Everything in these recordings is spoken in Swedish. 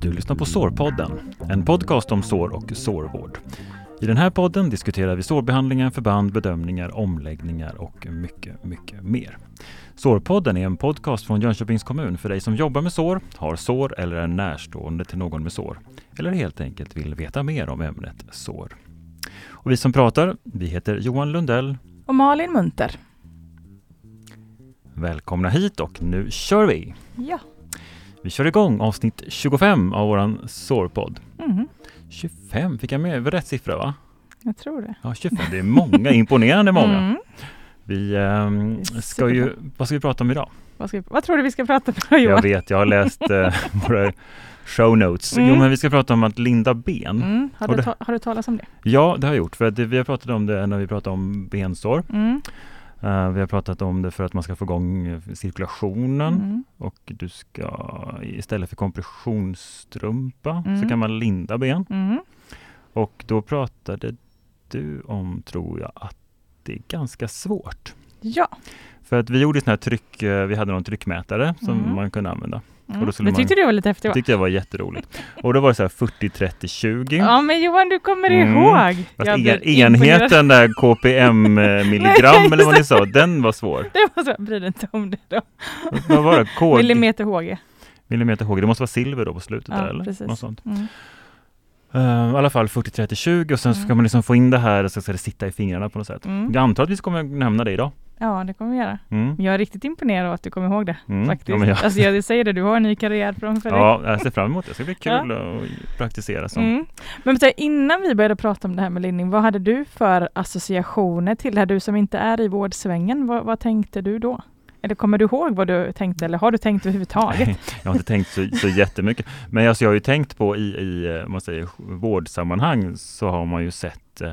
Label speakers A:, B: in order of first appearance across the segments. A: Du lyssnar på Sårpodden, en podcast om sår och sårvård. I den här podden diskuterar vi sårbehandlingar, förband, bedömningar, omläggningar och mycket, mycket mer. Sårpodden är en podcast från Jönköpings kommun för dig som jobbar med sår, har sår eller är närstående till någon med sår. Eller helt enkelt vill veta mer om ämnet sår. Och vi som pratar, vi heter Johan Lundell.
B: Och Malin Munter.
A: Välkomna hit och nu kör vi!
B: Ja.
A: Vi kör igång avsnitt 25 av våran sårpodd.
B: Mhm.
A: 25 fick jag med, var rätt siffra va?
B: Jag tror det.
A: Ja, 25, det är många, imponerande många.
B: Mm.
A: Vi ehm,
B: Det är
A: ska ju, vad ska vi prata om idag?
B: Vad, ska vi, vad tror du vi ska prata om då,
A: Jag
B: Johan?
A: vet, jag har läst eh, våra show notes. Jo,
B: Mm.
A: men vi ska prata om att linda ben.
B: Mm. Har,
A: Och
B: du
A: det-
B: ta, har du talat om det?
A: Ja, det har jag gjort, för att det, vi har pratat om det när vi pratade om bensår.
B: Mm.
A: Eh, vi har pratat om det för att man ska få igång eh, cirkulationen
B: Mm.
A: och du ska istället för kompressionsstrumpa så
B: Mm.
A: kan man linda ben.
B: Mm.
A: Och då pratade du om, tror jag, att det är ganska svårt.
B: Ja.
A: För att vi gjorde sån här tryck, eh, vi hade någon tryckmätare som
B: Mm.
A: man kunde använda.
B: Mm.
A: Och då
B: Det
A: skulle man-
B: tyckte du var lite häftigt
A: Det
B: va?
A: tyckte jag var jätteroligt. Och då var det så här 40, 30, 20.
B: Ja men Johan du kommer
A: Mm.
B: ihåg.
A: Fast
B: Jag
A: en,
B: blir imponerad.
A: enheten där KPM eh, milligram eller vad ni sa, den var svår.
B: Det var så, jag bryr dig inte om det då.
A: Vad var det? K-
B: Millimeter HG.
A: millimeter HG. Det måste vara silver då på slutet
B: Ja,
A: där eller?
B: precis.
A: Något sånt.
B: Mm.
A: Eh, I alla fall 40, 30, 20 och sen så
B: Mm.
A: ska man liksom få in det här och så ska det sitta i fingrarna på något sätt.
B: Mm.
A: Jag antar att vi kommer nämna det idag.
B: Ja det kommer vi göra.
A: Mm.
B: Men Jag är riktigt imponerad av att du kommer ihåg det.
A: Mm.
B: Faktiskt.
A: Ja, men jag-
B: Alltså jag säger det, du har en ny karriär framför dig.
A: Ja, jag ser fram emot det. Det ska bli kul att praktisera som.
B: Mm. Men så här, innan vi började prata om det här med lindning, vad hade du för associationer till det här? Du som inte är i vårdsvängen, vad, vad tänkte du då? Eller kommer du ihåg vad du tänkte eller har du tänkt överhuvudtaget?
A: Jag har inte tänkt så, så jättemycket. Men alltså, jag har ju tänkt på i, i eh, om man säger, vårdsammanhang så har man ju sett eh,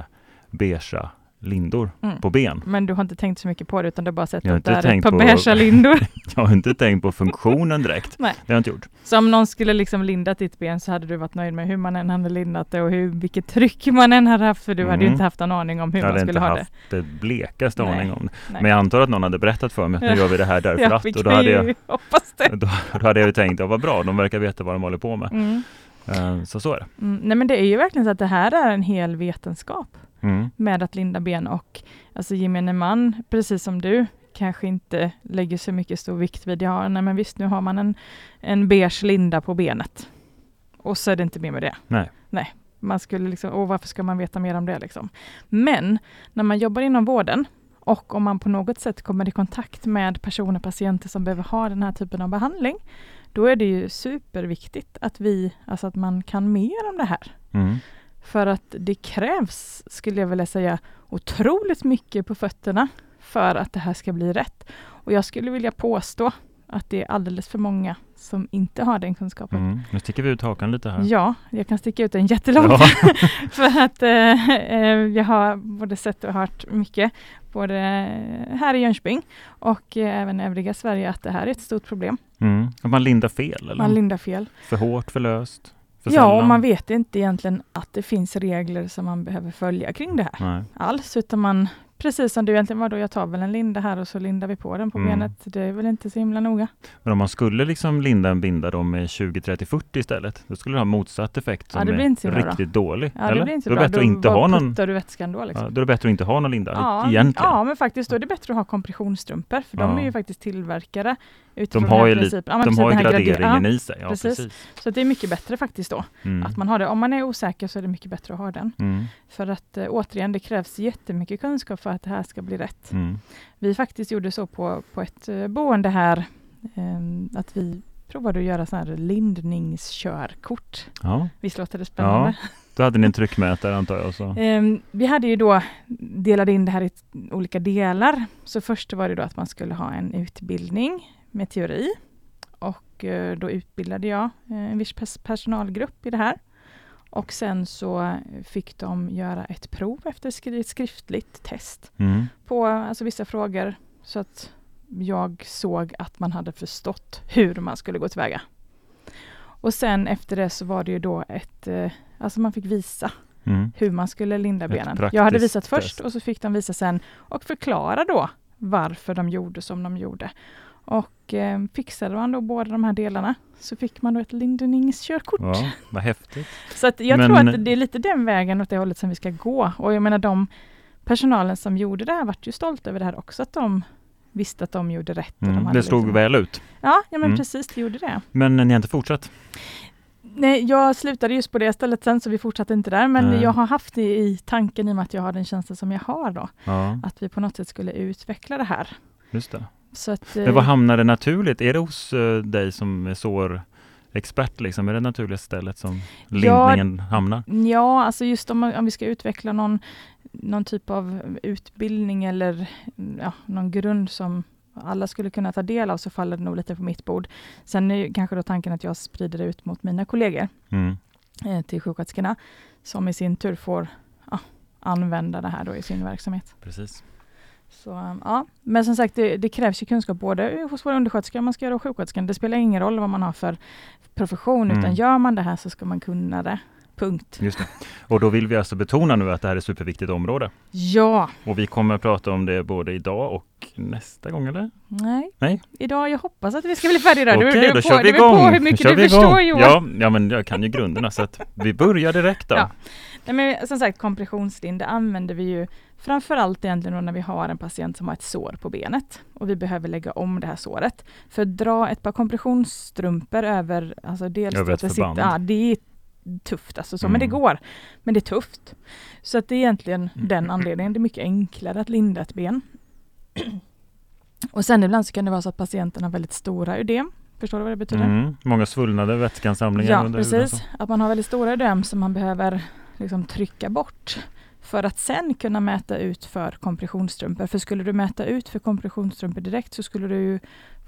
A: beigea lindor
B: Mm.
A: på ben.
B: Men du har inte tänkt så mycket på det utan du har bara sett
A: Jag har
B: att det
A: inte
B: är ett
A: tänkt
B: par
A: på-
B: beiga lindor.
A: Jag har inte tänkt på funktionen direkt.
B: Nej.
A: Det har jag inte gjort.
B: Så om någon skulle liksom lindat ditt ben så hade du varit nöjd med hur man än hade lindat det och hur, vilket tryck man än hade haft för du hade ju
A: Mm.
B: inte haft en aning om hur
A: jag
B: man
A: hade
B: skulle
A: inte
B: ha
A: haft det blekaste
B: Nej.
A: aning om det.
B: Nej.
A: Men jag antar att någon hade berättat för mig att nu
B: Ja.
A: gör vi det här
B: det.
A: därför
B: Ja,
A: att.
B: vi
A: Och då
B: kan
A: hade,
B: ju
A: jag,
B: hoppas det.
A: då, då hade jag ju tänkt, ja, vad bra, de verkar veta vad de håller på med.
B: Mm.
A: Eh, Så så är det.
B: Mm. Nej men det är ju verkligen så att det här är en hel vetenskap.
A: Mm.
B: med att linda ben och alltså gemene man, precis som du, kanske inte lägger så mycket stor vikt vid, ja nej men visst nu har man en, en beige linda på benet. Och så är det inte mer med det.
A: Nej.
B: Nej. Man skulle liksom, åh varför ska man veta mer om det liksom. Men när man jobbar inom vården och om man på något sätt kommer i kontakt med personer, patienter som behöver ha den här typen av behandling, då är det ju superviktigt att vi, alltså att man kan mer om det här.
A: Mm.
B: För att det krävs, skulle jag vilja säga, otroligt mycket på fötterna för att det här ska bli rätt. Och jag skulle vilja påstå att det är alldeles för många som inte har den kunskapen.
A: Mm. Nu sticker vi ut hakan lite här.
B: Ja, jag kan sticka ut den jättelångt
A: Ja.
B: för att eh, eh, jag har både sett och hört mycket, både här i Jönköping och eh, även övriga Sverige, att det här är ett stort problem.
A: Mm. Att man lindar fel eller?
B: Man lindar fel.
A: För hårt, för löst, för
B: Ja, och
A: sällan?
B: man vet inte egentligen att det finns regler som man behöver följa kring det här.
A: Nej.
B: alls, utan man, precis som du egentligen, vadå jag tar väl en linda här och så lindar vi på den på
A: Mm.
B: benet. Det är väl inte så himla noga.
A: Men om man skulle liksom linda en binda då med 20, 30, 40 istället, då skulle det ha motsatt effekt
B: Ja,
A: som
B: det blir inte så
A: är
B: bra då.
A: riktigt dålig.
B: Ja, det
A: eller?
B: blir inte
A: då är
B: bra.
A: det bättre att inte
B: bara
A: ha någon,
B: puttar du vätskan då liksom.
A: ja, då är det bättre att inte ha någon linda
B: Ja,
A: egentligen.
B: ja, men faktiskt då är det bättre att ha kompressionsstrumpor, för de
A: Ja.
B: är ju faktiskt tillverkare utifrån
A: De har
B: den
A: ju
B: här
A: lite-
B: principen. Ja, men
A: De
B: precis,
A: har ju
B: den här grader-
A: graderingen
B: ja,
A: i sig. Ja, precis.
B: precis. Så att det är mycket bättre faktiskt då,
A: Mm.
B: att man har det. Om man är osäker så är det mycket bättre att ha den.
A: Mm.
B: För att eh, återigen, det krävs jättemycket kunskap för att det här ska bli rätt.
A: Mm.
B: Vi faktiskt gjorde så på, på ett eh, boende här, ehm, att vi provade att göra sådana här lindningskörkort.
A: Ja.
B: Visst låter det spännande?
A: Då hade ni en tryckmätare antar jag. Så.
B: Ehm, vi hade ju då delat in det här i t- olika delar. Så först var det då att man skulle ha en utbildning med teori. Och eh, då utbildade jag eh, en viss pers- personalgrupp i det här. Och sen så fick de göra ett prov efter skri- ett skriftligt test
A: Mm.
B: på alltså, vissa frågor så att jag såg att man hade förstått hur man skulle gå tillväga. Och sen efter det så var det ju då ett, eh, alltså man fick visa
A: Mm.
B: hur man skulle linda benen.
A: praktiskt
B: Jag hade visat först
A: test.
B: och så fick de visa sen och förklara då varför de gjorde som de gjorde. Och eh, fixade man då båda de här delarna så fick man då ett linderningskörkort.
A: Ja, vad häftigt.
B: Så att jag
A: Men-
B: tror att det är lite den vägen åt det hållet som vi ska gå. Och jag menar de personalen som gjorde det här vart ju stolt över det här också, att de visste att de gjorde rätt. och de
A: Mm,
B: hade
A: det slog
B: liksom-
A: väl ut.
B: Ja, ja men
A: Mm.
B: precis, det gjorde det.
A: Men eh, ni har inte fortsatt?
B: Nej, jag slutade just på det stället sen så vi fortsatte inte där. Men
A: Nej.
B: jag har haft det i tanken i och med att jag har den tjänsten som jag har då.
A: Ja,
B: Att vi på något sätt skulle utveckla det här.
A: just det.
B: Så att, eh,
A: Men vad hamnar det naturligt? Är det hos eh, dig som är sårexpert? Liksom? Är det naturliga stället som
B: Ja.
A: lindningen hamnar?
B: Ja, alltså just om, om vi ska utveckla någon, någon typ av utbildning eller mm, ja, någon grund som alla skulle kunna ta del av, så faller det nog lite på mitt bord. Sen är ju kanske då tanken att jag sprider det ut mot mina kollegor
A: Mm.
B: eh, till sjuksköterskorna, som i sin tur får ja, använda det här då i sin verksamhet.
A: Precis.
B: Så, eh, ja. Men som sagt, det, det krävs ju kunskap både hos våra undersköterskor och man ska göra hos sjuksköterskan. Det spelar ingen roll vad man har för profession,
A: Mm.
B: utan gör man det här så ska man kunna det. Punkt.
A: Just det. Och då vill vi alltså betona nu att det här är ett superviktigt område.
B: Ja,
A: Och vi kommer att prata om det både idag och nästa gång, eller?
B: Nej.
A: Nej.
B: Idag, jag hoppas att vi ska bli färdiga där. Du-
A: Okej,
B: du, är
A: då
B: på,
A: kör vi
B: du är
A: igång!
B: på hur
A: Då
B: mycket
A: kör
B: du
A: vi
B: förstår
A: igång.
B: Johan.
A: Ja, ja, men jag kan ju grunderna så att vi börjar direkt då.
B: Ja. Nej, men, som sagt, kompressionslim det använder vi ju framförallt egentligen då när vi har en patient som har ett sår på benet och vi behöver lägga om det här såret. För att dra ett par kompressionsstrumpor över, alltså dels
A: Över
B: att
A: ett
B: det sitter-
A: förband.
B: ja, det är tufft alltså så, men det
A: Mm.
B: går. Men det är tufft. Så att det är egentligen den anledningen. Det är mycket enklare att linda ett ben. Och sen ibland så kan det vara så att patienten har väldigt stora ödem. Förstår du vad det betyder?
A: Mm. Många svullnader, vätskeansamlingar
B: Ja,
A: under huden alltså. och så.
B: precis. Att man har väldigt stora ödem som man behöver liksom trycka bort för att sen kunna mäta ut för kompressionsstrumpor. För skulle du mäta ut för kompressionsstrumpor direkt så skulle du ju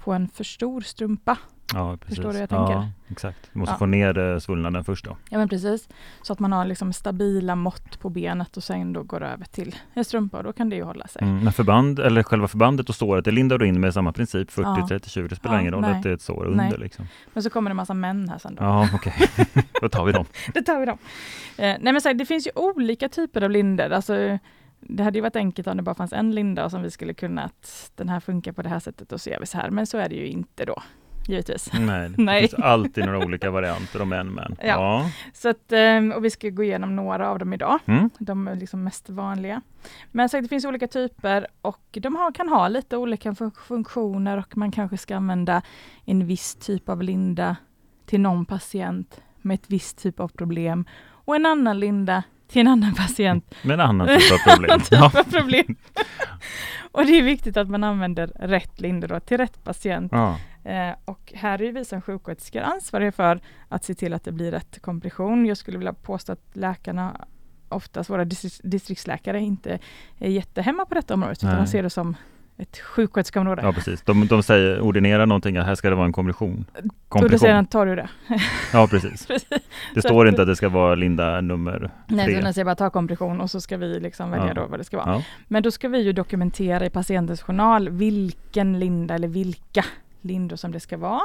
B: få en för stor strumpa.
A: Ja, precis.
B: Förstår du hur jag
A: Ja,
B: tänker?
A: exakt. Du måste
B: Ja.
A: få ner eh, svullnaden först då.
B: Ja men precis. Så att man har liksom stabila mått på benet och sen då går det över till en strumpa och då kan det ju hålla sig.
A: Mm, men förband, eller själva förbandet och såret, det lindar du in med samma princip, 40,
B: Ja.
A: 30, 20, det spelar
B: Ja,
A: ingen roll
B: nej.
A: att det är ett sår
B: Nej.
A: under liksom.
B: Men så kommer det en massa män här sen då.
A: Ja, okej. Då tar vi dem.
B: Det tar vi dem. Eh, nej men så här, det finns ju olika typer av linder. Alltså, det hade ju varit enkelt om det bara fanns en linda som vi skulle kunna att den här funkar på det här sättet och så gör vi så här. Men så är det ju inte då, givetvis.
A: Nej, det
B: Nej.
A: finns alltid några olika varianter om en men.
B: Ja.
A: Ja.
B: Så att, ehm, och vi ska gå igenom några av dem idag.
A: Mm.
B: De är liksom mest vanliga. Men så här, det finns olika typer och de har, kan ha lite olika fun- funktioner och man kanske ska använda en viss typ av linda till någon patient med ett visst typ av problem och en annan linda till en annan patient
A: Men annan typ av problem. Ja.
B: typ av problem. och det är viktigt att man använder rätt linder då, till rätt patient.
A: Ja.
B: Eh, och här är ju vi som sjuksköterskor ansvariga för att se till att det blir rätt kompression. Jag skulle vilja påstå att läkarna, oftast våra dis- distriktsläkare, inte är jättehemma på detta området, utan
A: Nej.
B: de ser det som ett sjuksköterskeområde.
A: ja, precis. De, de säger, ordinerar någonting, att här ska det vara en kompression.
B: och då säger
A: Kompression.
B: han, tar du det?
A: Ja, precis.
B: Precis.
A: Det
B: Så
A: står
B: att-
A: inte att det ska vara linda nummer.
B: Nej,
A: Tre.
B: så de säger bara ta kompression och så ska vi liksom välja
A: Ja.
B: då vad det ska vara.
A: Ja.
B: Men då ska vi ju dokumentera i patientens journal vilken linda eller vilka lindor som det ska vara.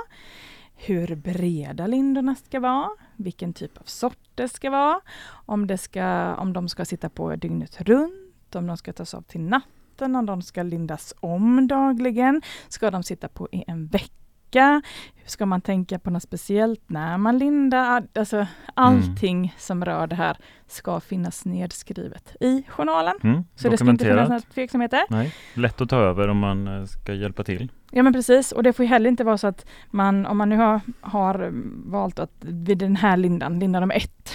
B: Hur breda lindorna ska vara, vilken typ av sort det ska vara, om, det ska, om de ska sitta på dygnet runt, om de ska tas av till natten, om de ska lindas om dagligen, ska de sitta på i en vecka, ska man tänka på något speciellt när man lindar? Alltså allting som rör det här ska finnas nedskrivet i journalen.
A: Mm.
B: Så det ska inte finnas
A: Dokumenterat.
B: några tveksamheter.
A: Nej. Lätt att ta över om man eh, ska hjälpa till.
B: Ja men precis, och det får ju heller inte vara så att man, om man nu har, har mm, valt att vid den här lindan, linda nummer ett,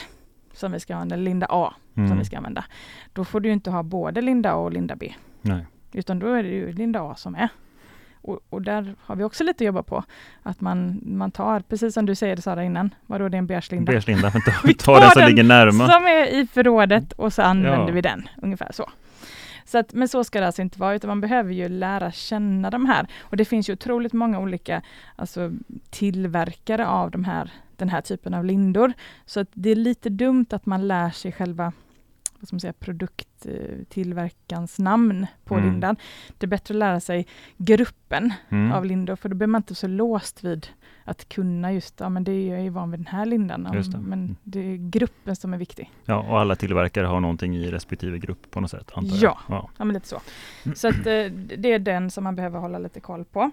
B: som vi ska använda, linda A, som
A: Mm.
B: vi ska använda. Då får du ju inte ha både linda A och linda B,
A: Nej.
B: utan då är det ju linda A som är. Och, och där har vi också lite att jobba på. Att man, man tar, precis som du säger Sara innan, vadå det är en beige linda?
A: Beige linda, men ta,
B: Vi
A: ta den
B: tar
A: som
B: den
A: ligger närmast.
B: som är i förrådet och så använder
A: Ja.
B: vi den. Ungefär så. så att, men så ska det alltså inte vara, utan man behöver ju lära känna de här. Och det finns ju otroligt många olika alltså, tillverkare av de här, den här typen av lindor. Så att det är lite dumt att man lär sig själva vad ska man säga, produkttillverkarens namn på
A: Mm.
B: lindan. Det är bättre att lära sig gruppen
A: Mm.
B: av lindor, för då blir man inte så låst vid att kunna just, ja men det är jag ju van vid den här lindan,
A: Just det.
B: det. men
A: Mm.
B: det är gruppen som är viktig.
A: Ja, och alla tillverkare har någonting i respektive grupp på något sätt, antar
B: Ja.
A: jag. Ja. Mm.
B: Ja men lite så. Så att eh, det är den som man behöver hålla lite koll på.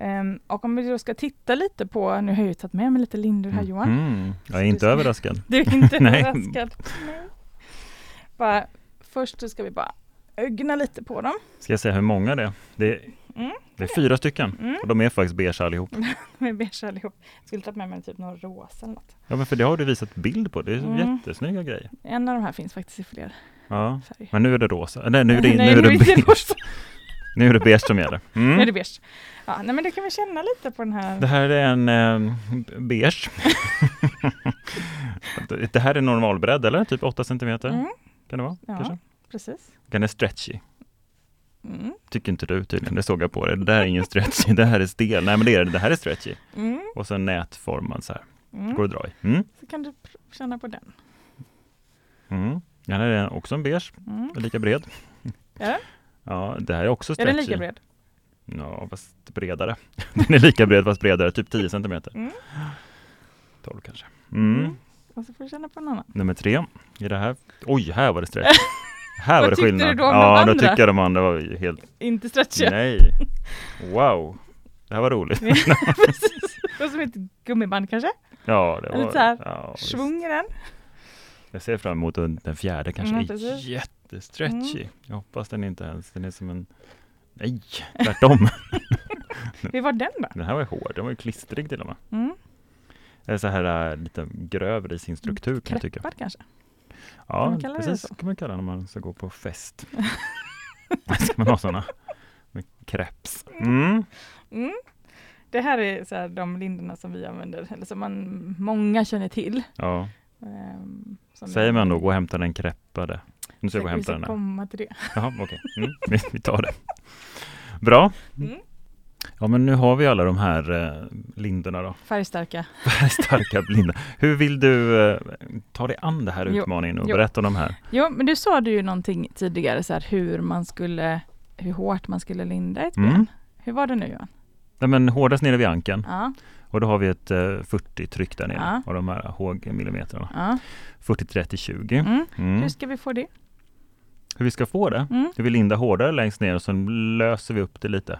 B: Ehm, och om vi då ska titta lite på, nu har jag ju tagit med mig lite lindor här Johan.
A: Mhm. Jag är
B: Så du
A: inte
B: ska-
A: överraskad.
B: Du är inte
A: Nej.
B: överraskad. Nej. Bara, först så ska vi bara ögna lite på dem.
A: Ska jag säga hur många det är? Det är,
B: Mm.
A: det är fyra stycken.
B: Mm.
A: Och de är faktiskt beige allihop.
B: Med beige allihop. Jag skulle tagit med mig typ någon rosa eller något.
A: Ja, men för det har du visat bild på. Det är
B: Mm.
A: jättesnygga grejer.
B: En av de här finns faktiskt i fler
A: Ja.
B: färger.
A: Men nu är det rosa. Nej, nu är det,
B: Nej,
A: nu är det
B: inte
A: beige.
B: rosa.
A: Nu är det beige som gäller.
B: Nu är det
A: Mm.
B: beige. Ja, nej men det kan vi känna lite på den här.
A: Det här är en eh, beige. det här är normalbredd, eller? Typ 8 centimeter?
B: Mm,
A: Kan det vara?
B: Ja.
A: Kanske?
B: precis.
A: Den är stretchy.
B: Mm.
A: Tycker inte du tydligen, det såg jag på dig. Det där är ingen stretchy, det här är stel. Nej men det är det, det här är stretchy.
B: Mm.
A: Och sen nätformad så här. Går
B: Mm.
A: att dra i. Mm.
B: Så kan du pr- känna på den.
A: Mm. Den här är också en beige,
B: Mm.
A: lika bred.
B: Är den?
A: Ja, det här är också
B: Är
A: stretchy.
B: den lika bred?
A: Ja, fast bredare. Den är lika bred fast bredare, typ 10 centimeter.
B: Mm.
A: 12 kanske. Mm.
B: Mm. Och så får du känna på en annan.
A: Nummer tre. I det här. Oj, här var det stretch. Här var
B: Vad
A: det
B: tyckte
A: skillnad.
B: du då om
A: ja,
B: de
A: då
B: andra?
A: tycker jag de andra var ju helt...
B: Inte stretchiga.
A: Nej. Wow. Det här var roligt.
B: Precis. Det var som ett gummiband kanske.
A: Ja, det var...
B: Lite så här,
A: ja, visst.
B: Svung i den.
A: Jag ser fram emot den den fjärde kanske.
B: Mm,
A: är
B: precis. Mm.
A: Jättestretchy. Jag hoppas den inte ens, den är som en... Nej, tvärtom.
B: Vi var den då.
A: den här var ju hård, den var ju klistrig till och med.
B: Mm.
A: Eller så här äh, lite grövre i sin struktur kan jag tycka.
B: Kreppad kanske.
A: Ja,
B: Kan man kalla det
A: precis.
B: så?
A: kan man kalla det när man ska gå på fest. ska man ha sådana? Med kreps. Mm.
B: Mm. Det här är så här, de lindorna som vi använder, eller som man, många känner till.
A: Ja.
B: Ehm, som
A: Säger man då gå och hämta den kreppade? Nu ska jag gå och hämta den
B: Vi ska
A: här.
B: komma till det.
A: Jaha, okej. Mm. Vi, vi tar det. Bra.
B: Mm.
A: Ja, men nu har vi alla de här eh, lindorna då.
B: Färgstarka.
A: Starka blinda. Hur vill du eh, ta dig an den här
B: Jo,
A: utmaningen och
B: jo.
A: berätta om de här?
B: Jo, men du sa du ju någonting tidigare så här hur man skulle, hur hårt man skulle linda ett ben.
A: Mm.
B: Hur var det nu Johan?
A: Nej, men hårdast nere vid ankeln
B: Ja,
A: och då har vi ett eh, 40-tryck där nere
B: Ja.
A: av de här hågmillimeterna.
B: ja.
A: 40-30-20.
B: Mm.
A: Mm.
B: Hur ska vi få det?
A: Hur vi ska få det?
B: Mm.
A: Du vill linda hårdare längst ner och sen löser vi upp det lite.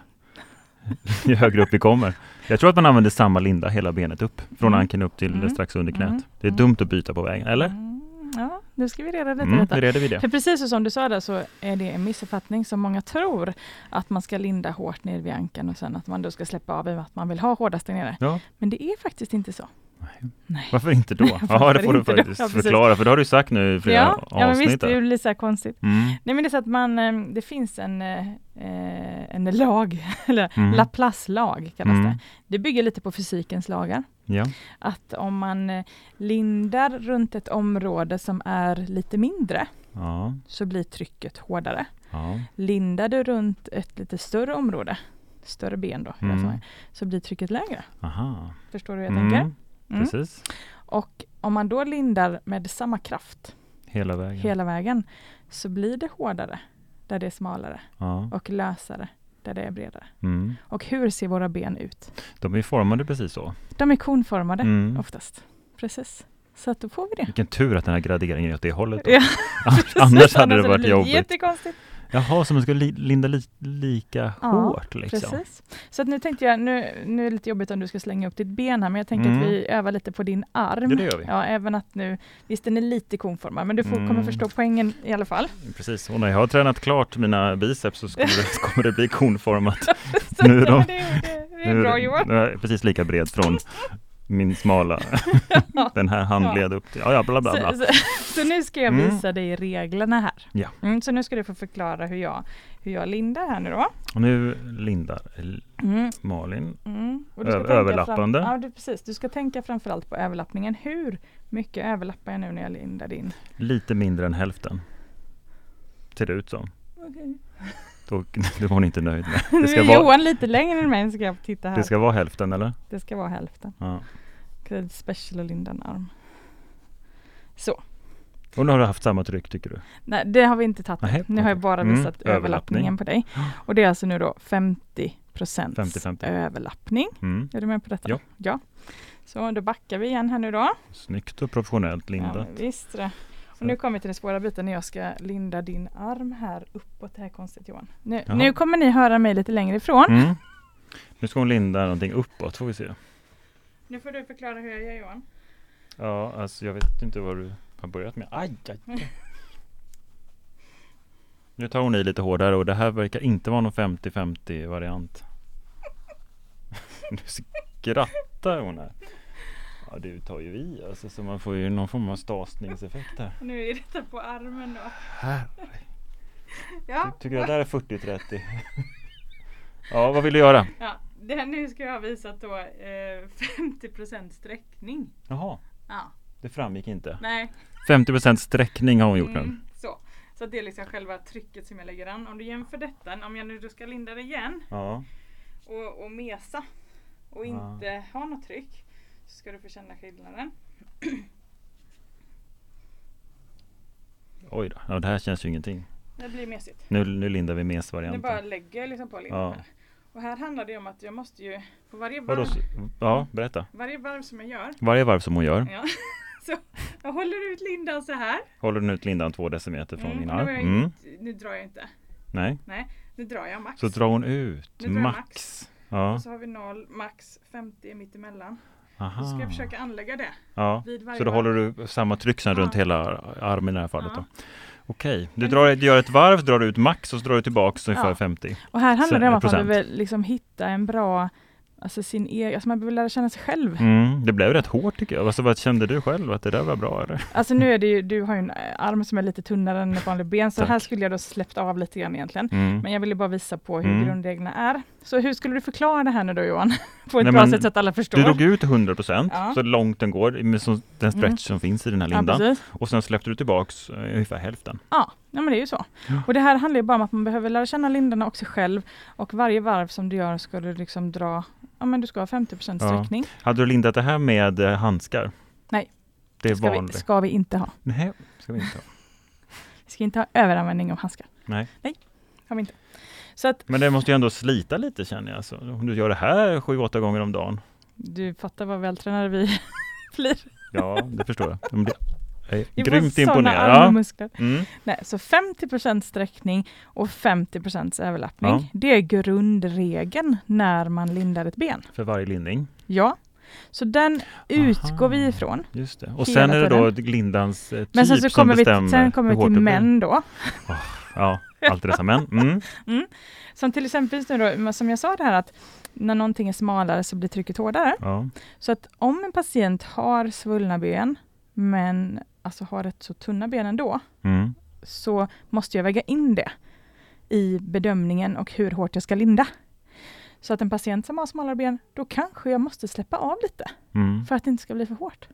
A: Ju högre upp vi kommer. Jag tror att man använder samma linda hela benet upp. Från
B: Mm.
A: ankeln upp till
B: Mm.
A: strax under knät.
B: Mm.
A: Det är
B: Mm.
A: dumt att byta på vägen, eller?
B: Mm. Ja, nu ska vi reda lite
A: Mm,
B: detta.
A: nu reder vi det.
B: För precis så som du sa där så är det en missuppfattning som många tror att man ska linda hårt ner vid ankan och sen att man då ska släppa av i och med att man vill ha hårdast där nere.
A: Ja.
B: Men det är faktiskt inte så.
A: Nej.
B: Nej.
A: Varför inte då? Ja, det
B: Varför
A: får du
B: inte då?
A: faktiskt
B: Ja, precis.
A: förklara, för det har du sagt nu i flera
B: Ja, ja men
A: avsnitt.
B: visst,
A: här.
B: det blir så här konstigt.
A: Mm.
B: Nej men det är så att man, eh, det finns en, eh, eh, en lag, eller
A: Mm.
B: Laplace-lag kallas
A: Mm.
B: det. Det bygger lite på fysikens lagar.
A: Ja.
B: Att om man eh, lindar runt ett område som är lite mindre
A: Ja.
B: så blir trycket hårdare.
A: Ja.
B: Lindar du runt ett lite större område, större ben då, i det här
A: Mm.
B: sammanhanget, så blir trycket lägre.
A: Aha.
B: Förstår du hur jag tänker? Mm.
A: Precis.
B: Och om man då lindar med samma kraft
A: Hela vägen.
B: hela vägen så blir det hårdare där det är smalare
A: Ja.
B: och lösare där det är bredare.
A: Mm.
B: Och hur ser våra ben ut?
A: De är formade precis så.
B: De är konformade
A: Mm.
B: oftast. Precis. Så att då får vi det.
A: Vilken tur att den här graderingen är åt det hållet. då.
B: Ja,
A: Annars hade det varit
B: blivit
A: jobbigt.
B: Jättekonstigt.
A: Jaha, så man ska li- linda li- lika
B: Ja,
A: hårt liksom?
B: Precis. Så att nu tänkte jag, nu, nu är det lite jobbigt om du ska slänga upp ditt ben här, men jag tänker
A: Mm.
B: att vi övar lite på din arm.
A: Ja, det gör vi.
B: Ja, även att nu, visst den är lite konformad, men du får, kommer
A: Mm.
B: förstå poängen i alla fall.
A: Precis, och när jag har tränat klart mina biceps så, skulle det, så kommer det bli konformat.
B: Så
A: Nu
B: ja,
A: då?
B: Det, är- det, det är bra Johan.
A: Nu är jag precis lika bred från min smala, den här handled upp till, ja ja bla bla bla.
B: Så, så, så nu ska jag
A: Mm.
B: visa dig reglerna här.
A: Ja.
B: Mm, så nu ska du få förklara hur jag, hur jag lindar här nu då.
A: Och nu lindar L-
B: Mm.
A: Malin.
B: Mm. Och
A: Ö-
B: tänka
A: överlappande.
B: Fram, ja, du, precis. Du ska tänka framförallt på överlappningen. Hur mycket överlappar jag nu när jag lindar in?
A: Lite mindre än hälften. Ser det ut som. Då, det var hon inte nöjd med.
B: Nu
A: Det ska,
B: är
A: vara,
B: Johan lite längre än mig, ska jag titta här.
A: det ska vara hälften eller?
B: vara hälften.
A: Ja.
B: Kred Special och linda en arm. Så,
A: Och nu har du haft samma tryck tycker du?
B: nej det har vi inte tagit.
A: Nej,
B: nu har jag
A: okej.
B: bara
A: Mm,
B: visat överlappningen på dig. Och det är alltså nu då 50 procent
A: 50-50.
B: överlappning.
A: Mm.
B: Är du med på detta?
A: Ja.
B: ja. Så då backar vi igen här nu då.
A: Snyggt och professionellt
B: Ja,
A: lindat.
B: men visst det.
A: Så.
B: Och nu kommer vi till den svåra biten när jag ska linda din arm här uppåt. Det här är konstigt Johan. Nu,
A: Jaha.
B: nu kommer ni höra mig lite längre ifrån.
A: Mm. Nu ska hon linda någonting uppåt, får vi se.
B: Nu får du förklara hur jag gör Johan.
A: Ja, alltså jag vet inte vad du har börjat med. Aj, aj, aj. Nu tar hon i lite hårdare och det här verkar inte vara någon 50-50 variant. Nu skrattar hon här. Ja, du tar ju i alltså, så man får ju någon form av stasningseffekt här.
B: Nu är detta på armen då.
A: Här.
B: Ja,
A: Tycker du att det här är 40-30? Ja, vad vill du göra?
B: ja. Det här nu ska jag ha visat då eh, 50 sträckning.
A: Jaha,
B: Ja,
A: det framgick inte.
B: nej.
A: 50% sträckning har hon gjort nu.
B: Mm, så. Så att det är liksom själva trycket som jag lägger an. Om du jämför detta, om jag nu då ska linda det igen
A: Ja,
B: och, och mesa och
A: Ja.
B: inte ha något tryck så ska du få känna skillnaden.
A: oj då. Ja, det här känns ju ingenting.
B: Det blir mesigt.
A: Nu, nu lindar vi
B: Nu bara
A: mesvarianten.
B: lägger jag liksom på linjen
A: Ja.
B: här. Och här handlar det om att jag måste ju på varje
A: Vadå?
B: varv,
A: s- Ja, berätta.
B: varje varv som jag gör
A: Varje varv som hon gör
B: ja, så jag håller ut lindan så här.
A: håller hon ut lindan två decimeter från din
B: och nu,
A: arm.
B: har jag
A: Mm.
B: inte- nu drar jag inte.
A: Nej,
B: Nu drar jag max.
A: så drar hon ut.
B: Nu drar jag
A: Max. Ja,
B: Och så har vi 0, max 50 mittemellan. Så ska
A: aha.
B: jag försöka anlägga det
A: Ja.
B: vid varje
A: Ah. Så då
B: varv.
A: håller du samma tryck sen
B: Ja.
A: runt hela armen i det här fallet då?
B: Ja.
A: Okej, du, drar, du gör ett varv, så drar du ut max och så drar du tillbaks ungefär
B: Ja.
A: 50.
B: Och här handlar det om att man
A: Procent.
B: behöver liksom hitta en bra, alltså sin egen, alltså man behöver lära känna sig själv.
A: Mm, det blev rätt hårt tycker jag. Alltså, vad kände du själv? Att det där var bra eller?
B: Alltså nu är det ju, du har ju en eh, arm som är lite tunnare än ett vanligt ben, så
A: Tack.
B: här skulle jag då släppt av lite grann egentligen.
A: Mm.
B: Men jag ville bara visa på hur
A: Mm.
B: grundreglerna är. Så hur skulle du förklara det här nu då Johan? På ett
A: Nej,
B: bra
A: men
B: sätt så att alla förstår.
A: Du drog ut 100 procent,
B: Ja.
A: så långt den går, med så, den stretch
B: Mm.
A: som finns i den här
B: ja,
A: lindan.
B: precis.
A: och sen släppte du tillbaks eh, ungefär hälften.
B: Ja, ja, men det är ju så.
A: Ja.
B: Och det här handlar ju bara om att man behöver lära känna lindarna också själv. Och varje varv som du gör ska du liksom dra, ja men du ska ha 50
A: Ja.
B: sträckning.
A: Hade du lindat det här med eh, handskar?
B: Nej.
A: Det är
B: ska, vi,
A: vanligt.
B: ska vi inte ha.
A: Nej, ska vi inte ha.
B: Vi ska inte ha överanvändning av handskar.
A: Nej.
B: Nej, har vi inte. Så att
A: Men det måste ju ändå slita lite känner jag. Så om du gör det här 7-8 gånger om dagen.
B: du fattar vad vältränade vi blir.
A: Ja, det förstår jag. Men det- Jag är
B: Vi får
A: grymt
B: såna
A: imponerad.
B: armar och
A: Ja.
B: muskler.
A: Mm.
B: Nej, så 50 sträckning och 50 överlappning.
A: Ja.
B: Det är grundregeln när man lindar ett ben.
A: För varje lindning.
B: Ja, så den utgår vi ifrån.
A: Just det. Och
B: Hela
A: sen är det då lindans eh, typ
B: Men sen så
A: som
B: kommer vi,
A: bestämmer
B: sen kommer
A: hur
B: vi
A: hårt
B: till
A: det blir.
B: män då.
A: Ja, alltid dessa män. Mm.
B: Som till exempel nu då, men som jag sa det här att när någonting är smalare så blir trycket hårdare.
A: Ja.
B: Så att om en patient har svullna ben, men alltså har rätt så tunna ben ändå,
A: Mm.
B: så måste jag väga in det i bedömningen och hur hårt jag ska linda. Så att en patient som har smalare ben, då kanske jag måste släppa av lite
A: Mm.
B: för att det inte ska bli för hårt.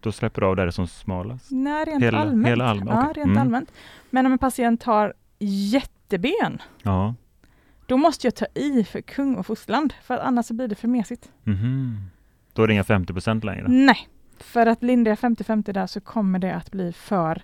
A: Då släpper du av där det är som smalast.
B: Nej, rent
A: Hela-
B: allmänt.
A: hela allmänt,
B: ja,
A: okej.
B: rent
A: Mm.
B: allmänt. Men om en patient har jätteben,
A: Ja.
B: då måste jag ta i för kung och fosterland, för att annars så blir det för mesigt.
A: Mhm. Då är det inga 50 procent längre.
B: Nej, för att lindar jag 50-50 där så kommer det att bli för,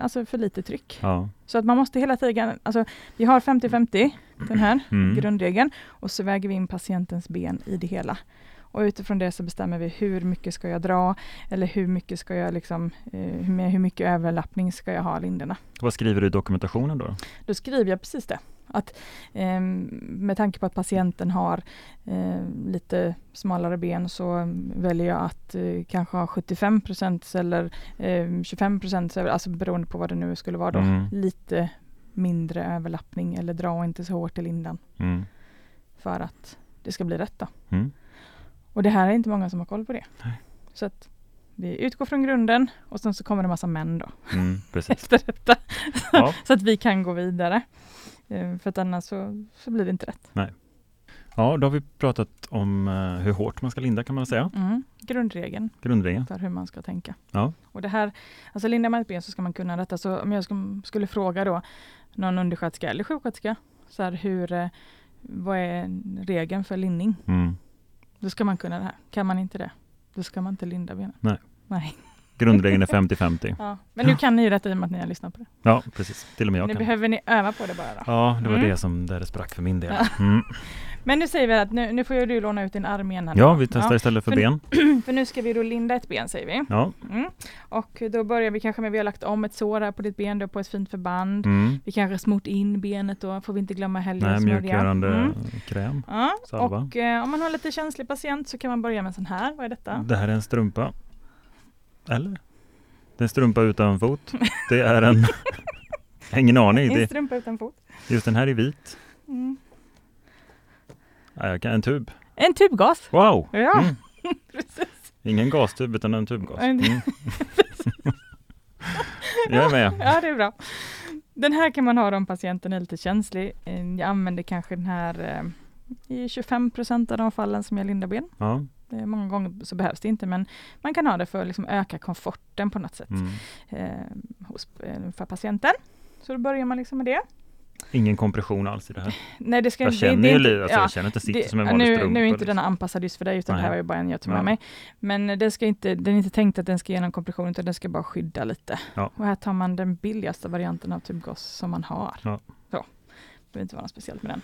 B: alltså för lite tryck.
A: Ja.
B: Så att man måste hela tiden, alltså vi har 50-50, den här
A: Mm.
B: grundregeln, och så väger vi in patientens ben i det hela. Och utifrån det så bestämmer vi hur mycket ska jag dra, eller hur mycket ska jag liksom, eh, hur med hur mycket överlappning ska jag ha linderna.
A: Vad skriver du i dokumentationen då?
B: Då skriver jag precis det. Att, ehm, med tanke på att patienten har ehm, lite smalare ben så mm, väljer jag att eh, kanske ha 75 eller ehm, 25 över, alltså beroende på vad det nu skulle vara då.
A: Mm.
B: Lite mindre överlappning eller dra inte så hårt i lindan
A: Mm.
B: för att det ska bli rätt då.
A: Mm.
B: Och det här är inte många som har koll på det. Så att vi utgår från grunden och sen så kommer det massa män då
A: Mm. Precis.
B: efter detta.
A: Ja.
B: Så att vi kan gå vidare. Eh, För att annars så, så blir det inte rätt.
A: ja, då har vi pratat om eh, hur hårt man ska linda kan man säga.
B: Mm. Grundregeln
A: Grundringen.
B: för hur man ska tänka.
A: Ja.
B: Och det här, alltså lindar man ett ben så ska man kunna detta. Så om jag sk- skulle fråga då någon undersköterska eller sjuksköterska, så här, hur, eh, vad är regeln för lindning?
A: Mm.
B: Då ska man kunna det här. Kan man inte det, då ska man inte linda benen.
A: Nej.
B: Nej.
A: Grundregeln är 50-50.
B: Ja. Men nu kan ni ju detta i och med att ni har lyssnat på det.
A: Ja, precis. Till och med
B: nu
A: jag kan.
B: behöver ni öva på det bara. Då.
A: Ja, det var
B: Mm.
A: det som där det sprack för min del.
B: Ja.
A: Mm.
B: Men nu säger vi att nu, nu får ju du låna ut din arm igen. Här
A: Ja,
B: nu.
A: vi testar istället för
B: För-
A: ben.
B: För nu ska vi då linda ett ben säger vi.
A: Ja.
B: Mm. Och då börjar vi kanske med, vi har lagt om ett sår här på ditt ben, då på ett fint förband.
A: Mm.
B: Vi kanske har smort in benet då, får vi inte glömma heller
A: Nej,
B: att smörja.
A: mjukgörande
B: Mm.
A: kräm.
B: Ja,
A: salva.
B: och eh, om man har lite känslig patient så kan man börja med en sån här, vad är detta?
A: Det här är en strumpa. Eller? Det är en strumpa utan fot. Det är en... Jag har ingen aning.
B: En
A: Det,
B: strumpa utan fot.
A: just den här är vit.
B: Mm.
A: Ja, jag kan, en tub.
B: En tubgas!
A: Wow!
B: Ja,
A: Mm.
B: precis.
A: Ingen gastub utan en tubgas.
B: En-
A: Mm. jag är med.
B: Ja, det är bra. Den här kan man ha om patienten är lite känslig. Eh, Jag använder kanske den här eh, i 25 procent av de fallen som jag lindar ben.
A: Ja.
B: Eh, Många gånger så behövs det inte men man kan ha det för att liksom öka komforten på något sätt
A: Mm.
B: eh, hos, eh, för patienten. Så då börjar man liksom med det.
A: Ingen kompression alls i det här.
B: Nej, det ska,
A: Jag
B: det-
A: känner
B: det,
A: ju
B: är inte-
A: lite, alltså,
B: ja,
A: jag känner att det sitter
B: det-
A: som en
B: ja,
A: vanlig
B: nu,
A: strumpa.
B: nu är inte
A: liksom.
B: den anpassad just för dig utan
A: Nej.
B: det här var ju bara en jag tog
A: Ja.
B: med mig. Men eh, den, ska inte, den är inte tänkt att den ska ge någon kompression utan den ska bara skydda lite.
A: Ja.
B: Och här tar man den billigaste varianten av tubgas som man har.
A: Ja.
B: Så. Det behöver inte vara något speciellt med den.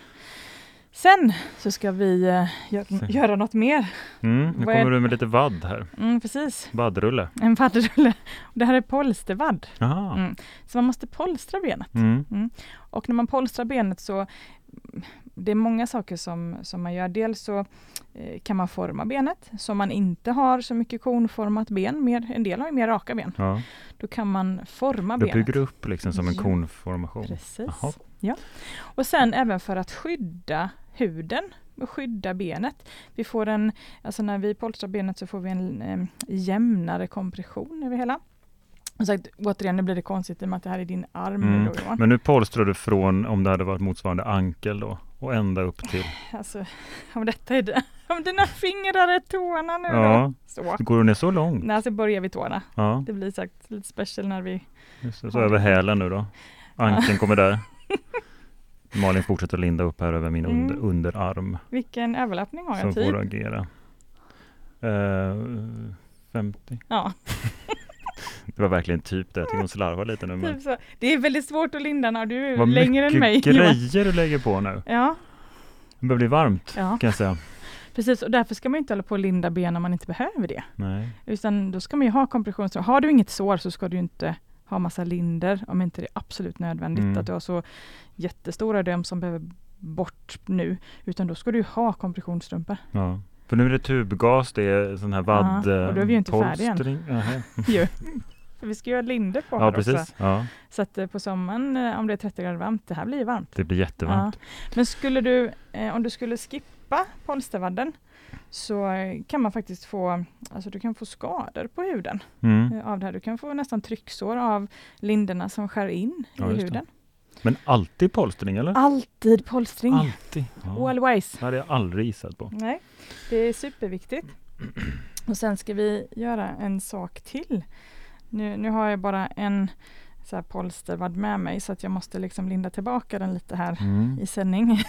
B: Sen så ska vi eh, gör,
A: Se.
B: göra något mer.
A: Mm, nu
B: Vad är-
A: kommer du med lite vadd här.
B: Mm, precis,
A: Vaddrulle.
B: en vaddrulle. Och Det här är polstervadd.
A: Aha.
B: Mm. Så man måste polstra benet.
A: Mm.
B: Och när man polstrar benet så det är många saker som, som man gör. Dels så eh, kan man forma benet, så man inte har så mycket konformat ben. Mer, en del har ju mer raka ben.
A: Ja.
B: Då kan man forma
A: Du
B: benet.
A: bygger upp liksom som en
B: Ja.
A: konformation.
B: Precis.
A: Jaha.
B: Ja. Och sen även för att skydda huden och skydda benet. Vi får en, alltså när vi polstrar benet så får vi en eh, jämnare kompression över hela. Och sagt, återigen, nu blir det konstigt i och med att det här är din arm.
A: Mm.
B: Då, Johan.
A: Men nu polstrar du från, om det hade varit motsvarande ankel då, och ända upp till.
B: Alltså, om detta är det. Om dina fingrar är tårna nu då.
A: Ja,
B: Så.
A: går du ner så långt?
B: Nej, så börjar vi tårna.
A: Ja,
B: Det blir sagt lite special när vi...
A: just det. så över hälen nu då. Ankeln kommer där. Malin fortsätter att linda upp här över min
B: Mm.
A: under, underarm
B: Vilken överlappning har
A: som
B: jag? Typ?
A: får agera. Uh, 50.
B: Ja,
A: Det var verkligen typ det. Jag tycker hon slarvar lite nu. Men
B: typ så. Det är väldigt svårt att linda när du är
A: vad
B: Typ längre
A: mycket
B: än mig. Johan.
A: grejer du lägger på nu.
B: Ja,
A: Det börjar bli varmt
B: ja,
A: kan jag säga.
B: precis. Och därför ska man ju inte hålla på och linda ben när man inte behöver det.
A: Nej.
B: Utan då ska man ju ha kompression. Så har du inget sår så ska du ju inte ha massa linder om inte det är absolut nödvändigt
A: Mm.
B: att du har så jättestora rem som behöver bort nu. Utan då ska du ju ha kompressionsstrumpor.
A: Ja. För nu är det tubgas, det är sån här vadd...
B: Ja, och då är vi ju inte färdiga än.
A: polstring. Aha.
B: För vi ska göra linder på
A: Ja,
B: här också.
A: precis. Ja,
B: Så att eh, på sommaren eh, om det är 30 grader varmt, det här blir ju varmt.
A: det blir jättevarmt.
B: Men skulle du, eh, om du skulle skippa polstervadden så eh, kan man faktiskt få, alltså du kan få skador på huden
A: Mm.
B: eh, av det här. Du kan få nästan trycksår av linderna som skär in
A: Ja,
B: i
A: just det.
B: huden.
A: Men alltid polstring eller?
B: Alltid polstring!
A: Alltid. Ja.
B: Always!
A: Det hade jag aldrig gissat på.
B: Nej, det är superviktigt. Och sen ska vi göra en sak till. Nu, nu har jag bara en så här polstervadd med mig så att jag måste liksom linda tillbaka den lite här
A: Mm.
B: i sändning.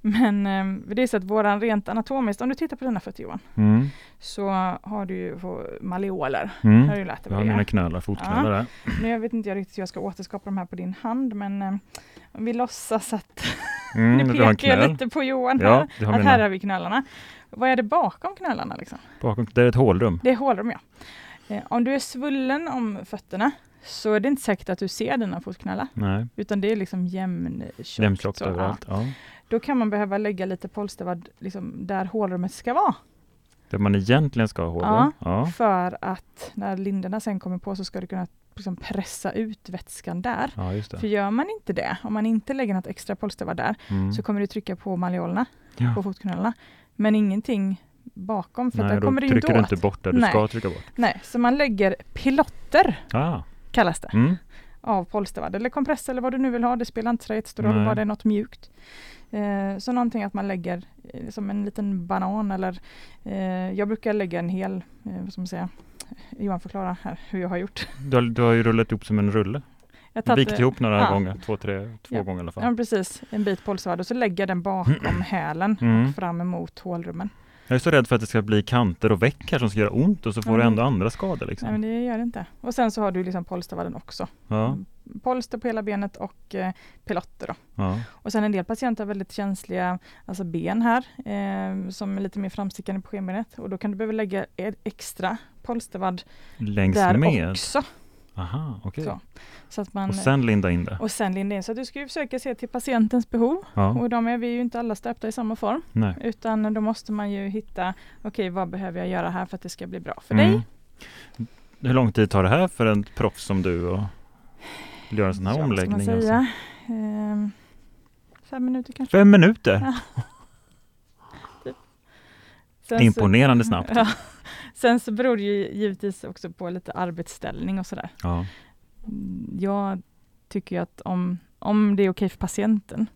B: Men eh, det är så att våran rent anatomiskt, om du tittar på dina fötter Johan,
A: Mm.
B: så har du ju få- maleoler. Har du
A: Mm.
B: ju lärt dig
A: Jag
B: vad
A: har
B: det
A: mina
B: är.
A: knölar, fotknölar där.
B: Nu jag vet inte jag riktigt hur jag ska återskapa de här på din hand men eh, om vi låtsas att,
A: Mm.
B: nu
A: Du har en
B: pekar jag
A: knöl.
B: lite på Johan
A: Ja,
B: här,
A: det har
B: att här
A: mina.
B: har vi knölarna. Vad är det bakom knölarna liksom?
A: Bakom. Det är ett hålrum.
B: Det är hålrum ja. Eh, om du är svullen om fötterna så är det inte säkert att du ser dina fotknölar
A: Nej,
B: utan det är liksom jämntjockt.
A: jämntjockt
B: så, ja.
A: överallt. Ja.
B: Då kan man behöva lägga lite polstervadd liksom, där hålrummet ska vara.
A: Där man egentligen ska ha hålrum.
B: Ja.
A: Ja.
B: För att när linderna sen kommer på så ska du kunna liksom, pressa ut vätskan där.
A: ja, just
B: För
A: det.
B: gör man inte det, om man inte lägger något extra polstervadd där,
A: Mm.
B: så kommer du trycka på malleolerna, på
A: Ja.
B: fotknölarna. Men ingenting bakom, för
A: Nej,
B: där
A: då
B: kommer det ju
A: trycker
B: inte
A: du
B: åt.
A: inte bort där du
B: Nej.
A: ska trycka bort.
B: Nej, så man lägger pilotter,
A: Ah.
B: kallas det,
A: Mm.
B: av polstervadd. Eller kompress eller vad du nu vill ha, det spelar inte så jättestor roll,
A: Nej.
B: bara det är något mjukt. Eh, så någonting att man lägger eh, som en liten banan eller eh, jag brukar lägga en hel, eh, vad ska man säga, Johan förklara här hur jag har gjort.
A: Du, har, du har ju rullat ihop som en rulle.
B: Jag har
A: Vikt
B: tagit
A: ihop några
B: ja.
A: gånger. Två, tre, två
B: Ja.
A: gånger i alla fall.
B: ja, precis, en bit polstervadd och så lägger jag den bakom hälen
A: Mm.
B: och fram emot hålrummen.
A: Jag är så rädd för att det ska bli kanter och veck här som ska göra ont och så får
B: Ja,
A: du
B: men-
A: ändå andra skador. Liksom.
B: Nej men det gör det inte. Och sen så har du liksom polstervallen också.
A: ja,
B: Polster på hela benet och eh, pelotter då.
A: ja,
B: Och sen en del patienter har väldigt känsliga alltså ben här eh, som är lite mer framstickande på skenbenet och då kan du behöva lägga e- extra polstervadd
A: längs
B: där
A: med.
B: också.
A: Aha, okej.
B: Så. Så att man,
A: Och sen linda in det.
B: och sen linda in. Så att du ska ju försöka se till patientens behov
A: Ja,
B: och de är vi ju inte alla stöpta i samma form
A: nej.
B: utan då måste man ju hitta okej vad behöver jag göra här för att det ska bli bra för
A: Mm.
B: dig.
A: Hur lång tid tar det här för en proffs som du och vill göra en sån här
B: Ja, vad ska man
A: omläggning? alltså?
B: säga? Ehm, fem minuter kanske.
A: Fem minuter?
B: Sen så-
A: Imponerande snabbt.
B: alltså, Ja. Sen så beror det ju givetvis också på lite arbetsställning och sådär.
A: Ja.
B: Mm, Jag tycker ju att om, om det är okej för patienten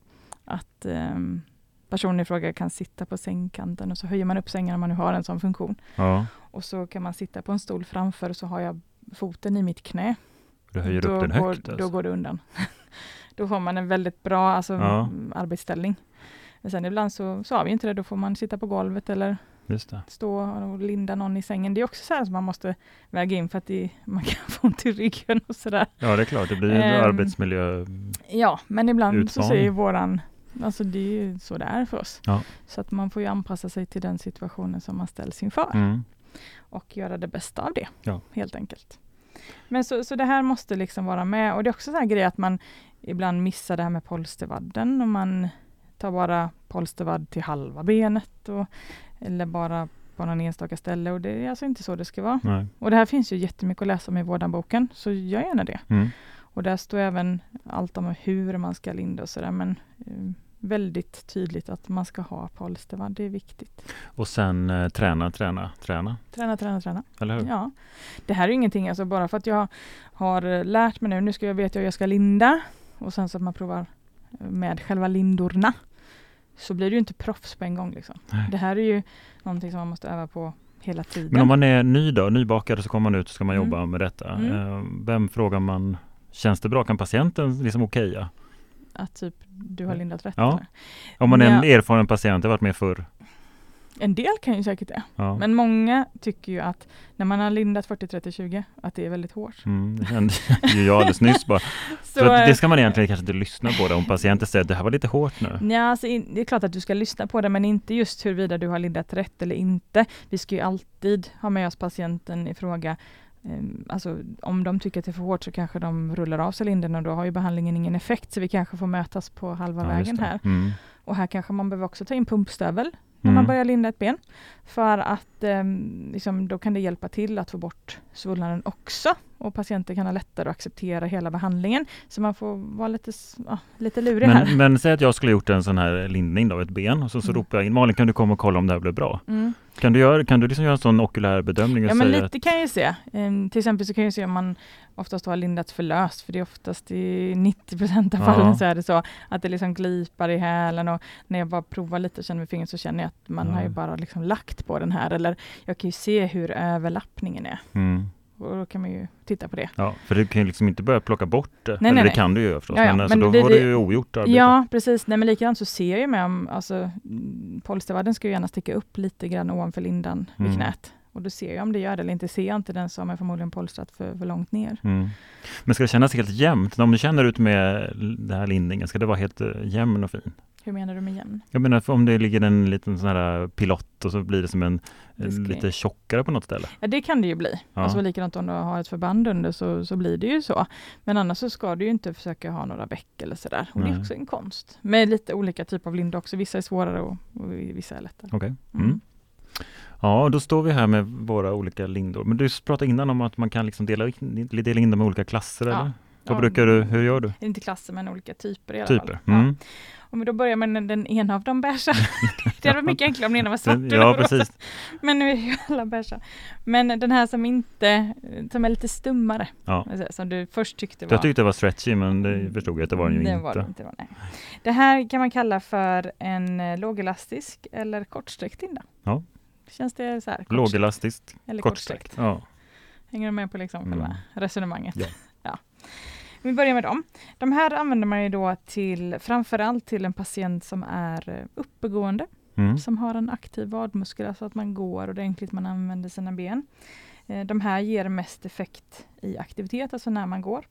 B: att ehm, personen i fråga kan sitta på sängkanten och så höjer man upp sängen om man nu har en sån funktion.
A: ja,
B: Och så kan man sitta på en stol framför och så har jag foten i mitt knä.
A: du höjer
B: då,
A: upp den
B: går,
A: högt.
B: då
A: Alltså.
B: går det undan. då har man en väldigt bra alltså,
A: Ja.
B: m, arbetsställning. Men sen ibland så, så har vi inte det, då får man sitta på golvet eller
A: Just det.
B: stå och linda någon i sängen. Det är också så här som man måste väga in för att det, man kan få ont i ryggen och sådär.
A: Ja, det är klart. Det blir ju
B: Ehm,
A: arbetsmiljö.
B: Ja, men ibland så
A: Utmaning.
B: säger våran, alltså det är ju så det är för oss.
A: Ja.
B: Så att man får ju anpassa sig till den situationen som man ställs inför
A: Mm.
B: och göra det bästa av det,
A: Ja.
B: helt enkelt. Men så, så det här måste liksom vara med och det är också så här grej att man ibland missar det här med polstervadden och man tar bara polstervadd till halva benet och, eller bara på någon enstaka ställe och det är alltså inte så det ska vara.
A: Nej.
B: Och det här finns ju jättemycket att läsa om i vårdanboken, så gör gärna det.
A: Mm.
B: Och där står även allt om hur man ska linda och sådär, men eh, väldigt tydligt att man ska ha polstervadd, det är viktigt.
A: Och sen eh, träna, träna, träna.
B: Träna, träna, träna.
A: Eller hur?
B: Ja. Det här är ju ingenting, alltså bara för att jag har eh, lärt mig nu, nu ska jag vet jag hur jag ska linda och sen så att man provar eh, med själva lindorna så blir du ju inte proffs på en gång. Liksom.
A: Nej.
B: Det här är ju någonting som man måste öva på hela tiden.
A: Men om man är ny då, nybakad så kommer man ut och ska man
B: Mm.
A: jobba med detta.
B: Mm.
A: Eh, Vem frågar man, känns det bra? Kan patienten liksom okeja?
B: Att typ du har lindat rätt.
A: Ja.
B: eller?
A: Om man är en erfaren patient, jag har varit med förr.
B: En del kan ju säkert det.
A: Ja.
B: Men många tycker ju att när man har lindat 40-30-20 att det är väldigt hårt.
A: Mm, det kände ju jag alldeles nyss bara.
B: Så,
A: Så att det
B: eh,
A: ska man egentligen kanske inte lyssna på det om patienten säger att det här var lite hårt nu.
B: nja, alltså in, det är klart att du ska lyssna på det men inte just huruvida du har lindat rätt eller inte. Vi ska ju alltid ha med oss patienten i fråga eh, Alltså om de tycker att det är för hårt så kanske de rullar av sig linden och då har ju behandlingen ingen effekt så vi kanske får mötas på halva
A: Ja, just
B: vägen
A: det.
B: här.
A: Mm.
B: Och här kanske man behöver också ta in pumpstövel när
A: Mm.
B: man börjar linda ett ben. För att ehm, liksom, då kan det hjälpa till att få bort svullnaden också. Och patienter kan ha lättare att acceptera hela behandlingen. Så man får vara lite, s- ja, lite lurig här.
A: men, men säg att jag skulle gjort en sån här lindning av ett ben och så, så
B: Mm.
A: ropar jag in Malin kan du komma och kolla om det här blev bra?
B: Mm.
A: Kan du, göra, kan du liksom göra en sån okulär bedömning och
B: Ja men
A: säga
B: lite kan jag ju se. Ehm, till exempel så kan jag ju se om man oftast har lindat för löst, för det är oftast i 90 procent av
A: Ja.
B: fallen så är det så att det liksom glipar i hälen och när jag bara provar lite och känner med fingret så känner jag att man
A: Ja.
B: har ju bara liksom lagt på den här eller jag kan ju se hur överlappningen är
A: att... Mm.
B: och då kan man ju titta på det.
A: Ja, för du kan ju liksom inte börja plocka bort det.
B: nej,
A: Eller det
B: nej.
A: kan du ju göra förstås.
B: Ja, ja,
A: Men, alltså,
B: men
A: då
B: vi-
A: har
B: vi-
A: du ju ogjort arbete.
B: Ja, precis. Nej, men likadant så ser jag ju med om, alltså, mm, polstervadden ska ju gärna sticka upp lite grann ovanför lindan vid
A: Mm.
B: knät. Och då ser jag om det gör det eller inte. Ser jag inte den så har man förmodligen polstrat för, för långt ner.
A: Mm. Men ska det kännas helt jämnt? Om du känner ut med den här lindningen, ska det vara helt eh, jämn och fin?
B: Hur menar du med jämn?
A: Jag menar för om det ligger en liten sån här eh, pilott och så blir det som en,
B: Det ska-
A: en lite tjockare på något ställe.
B: Ja, det kan det ju bli.
A: Ja.
B: Alltså likadant om du har ett förband under så, så blir det ju så. Men annars så ska du ju inte försöka ha några bäck eller sådär. Och det
A: Nej.
B: är också en konst. Med lite olika typer av linda också. Vissa är svårare och, och vissa är lättare.
A: Okej. Mm. Ja, då står vi här med våra olika lindor. Men du pratade innan om att man kan liksom dela in, dela in dem i olika klasser.
B: Ja.
A: Eller? Vad
B: Ja,
A: brukar du, hur gör du?
B: Inte klasser men olika typer i alla
A: Typer?
B: fall. Ja.
A: Mm.
B: Om vi då börjar med den, den ena av dem beiga. det hade varit mycket enklare om den ena var svart och
A: Ja,
B: den rosa.
A: precis.
B: Men nu är ju alla beiga. Men den här som inte, som är lite stummare.
A: Ja.
B: alltså, Som du först tyckte var...
A: Jag tyckte det var stretchy, men det förstod jag att det var den ju
B: Mm,
A: inte.
B: det Var det, inte det var, nej. det här kan man kalla för en eh, lågelastisk eller kortsträckt linda.
A: Ja.
B: Känns det så här? Kort,
A: Lågelastiskt,
B: eller
A: kortsträckt.
B: kortsträckt.
A: Ja.
B: Hänger du med på liksom själva
A: Mm.
B: resonemanget?
A: Ja.
B: Ja. Vi börjar med dem. De här använder man ju då till, framförallt till en patient som är eh, uppegående
A: Mm.
B: som har en aktiv vadmuskel, alltså att man går ordentligt, man använder sina ben. Eh, De här ger mest effekt i aktivitet, alltså när man går.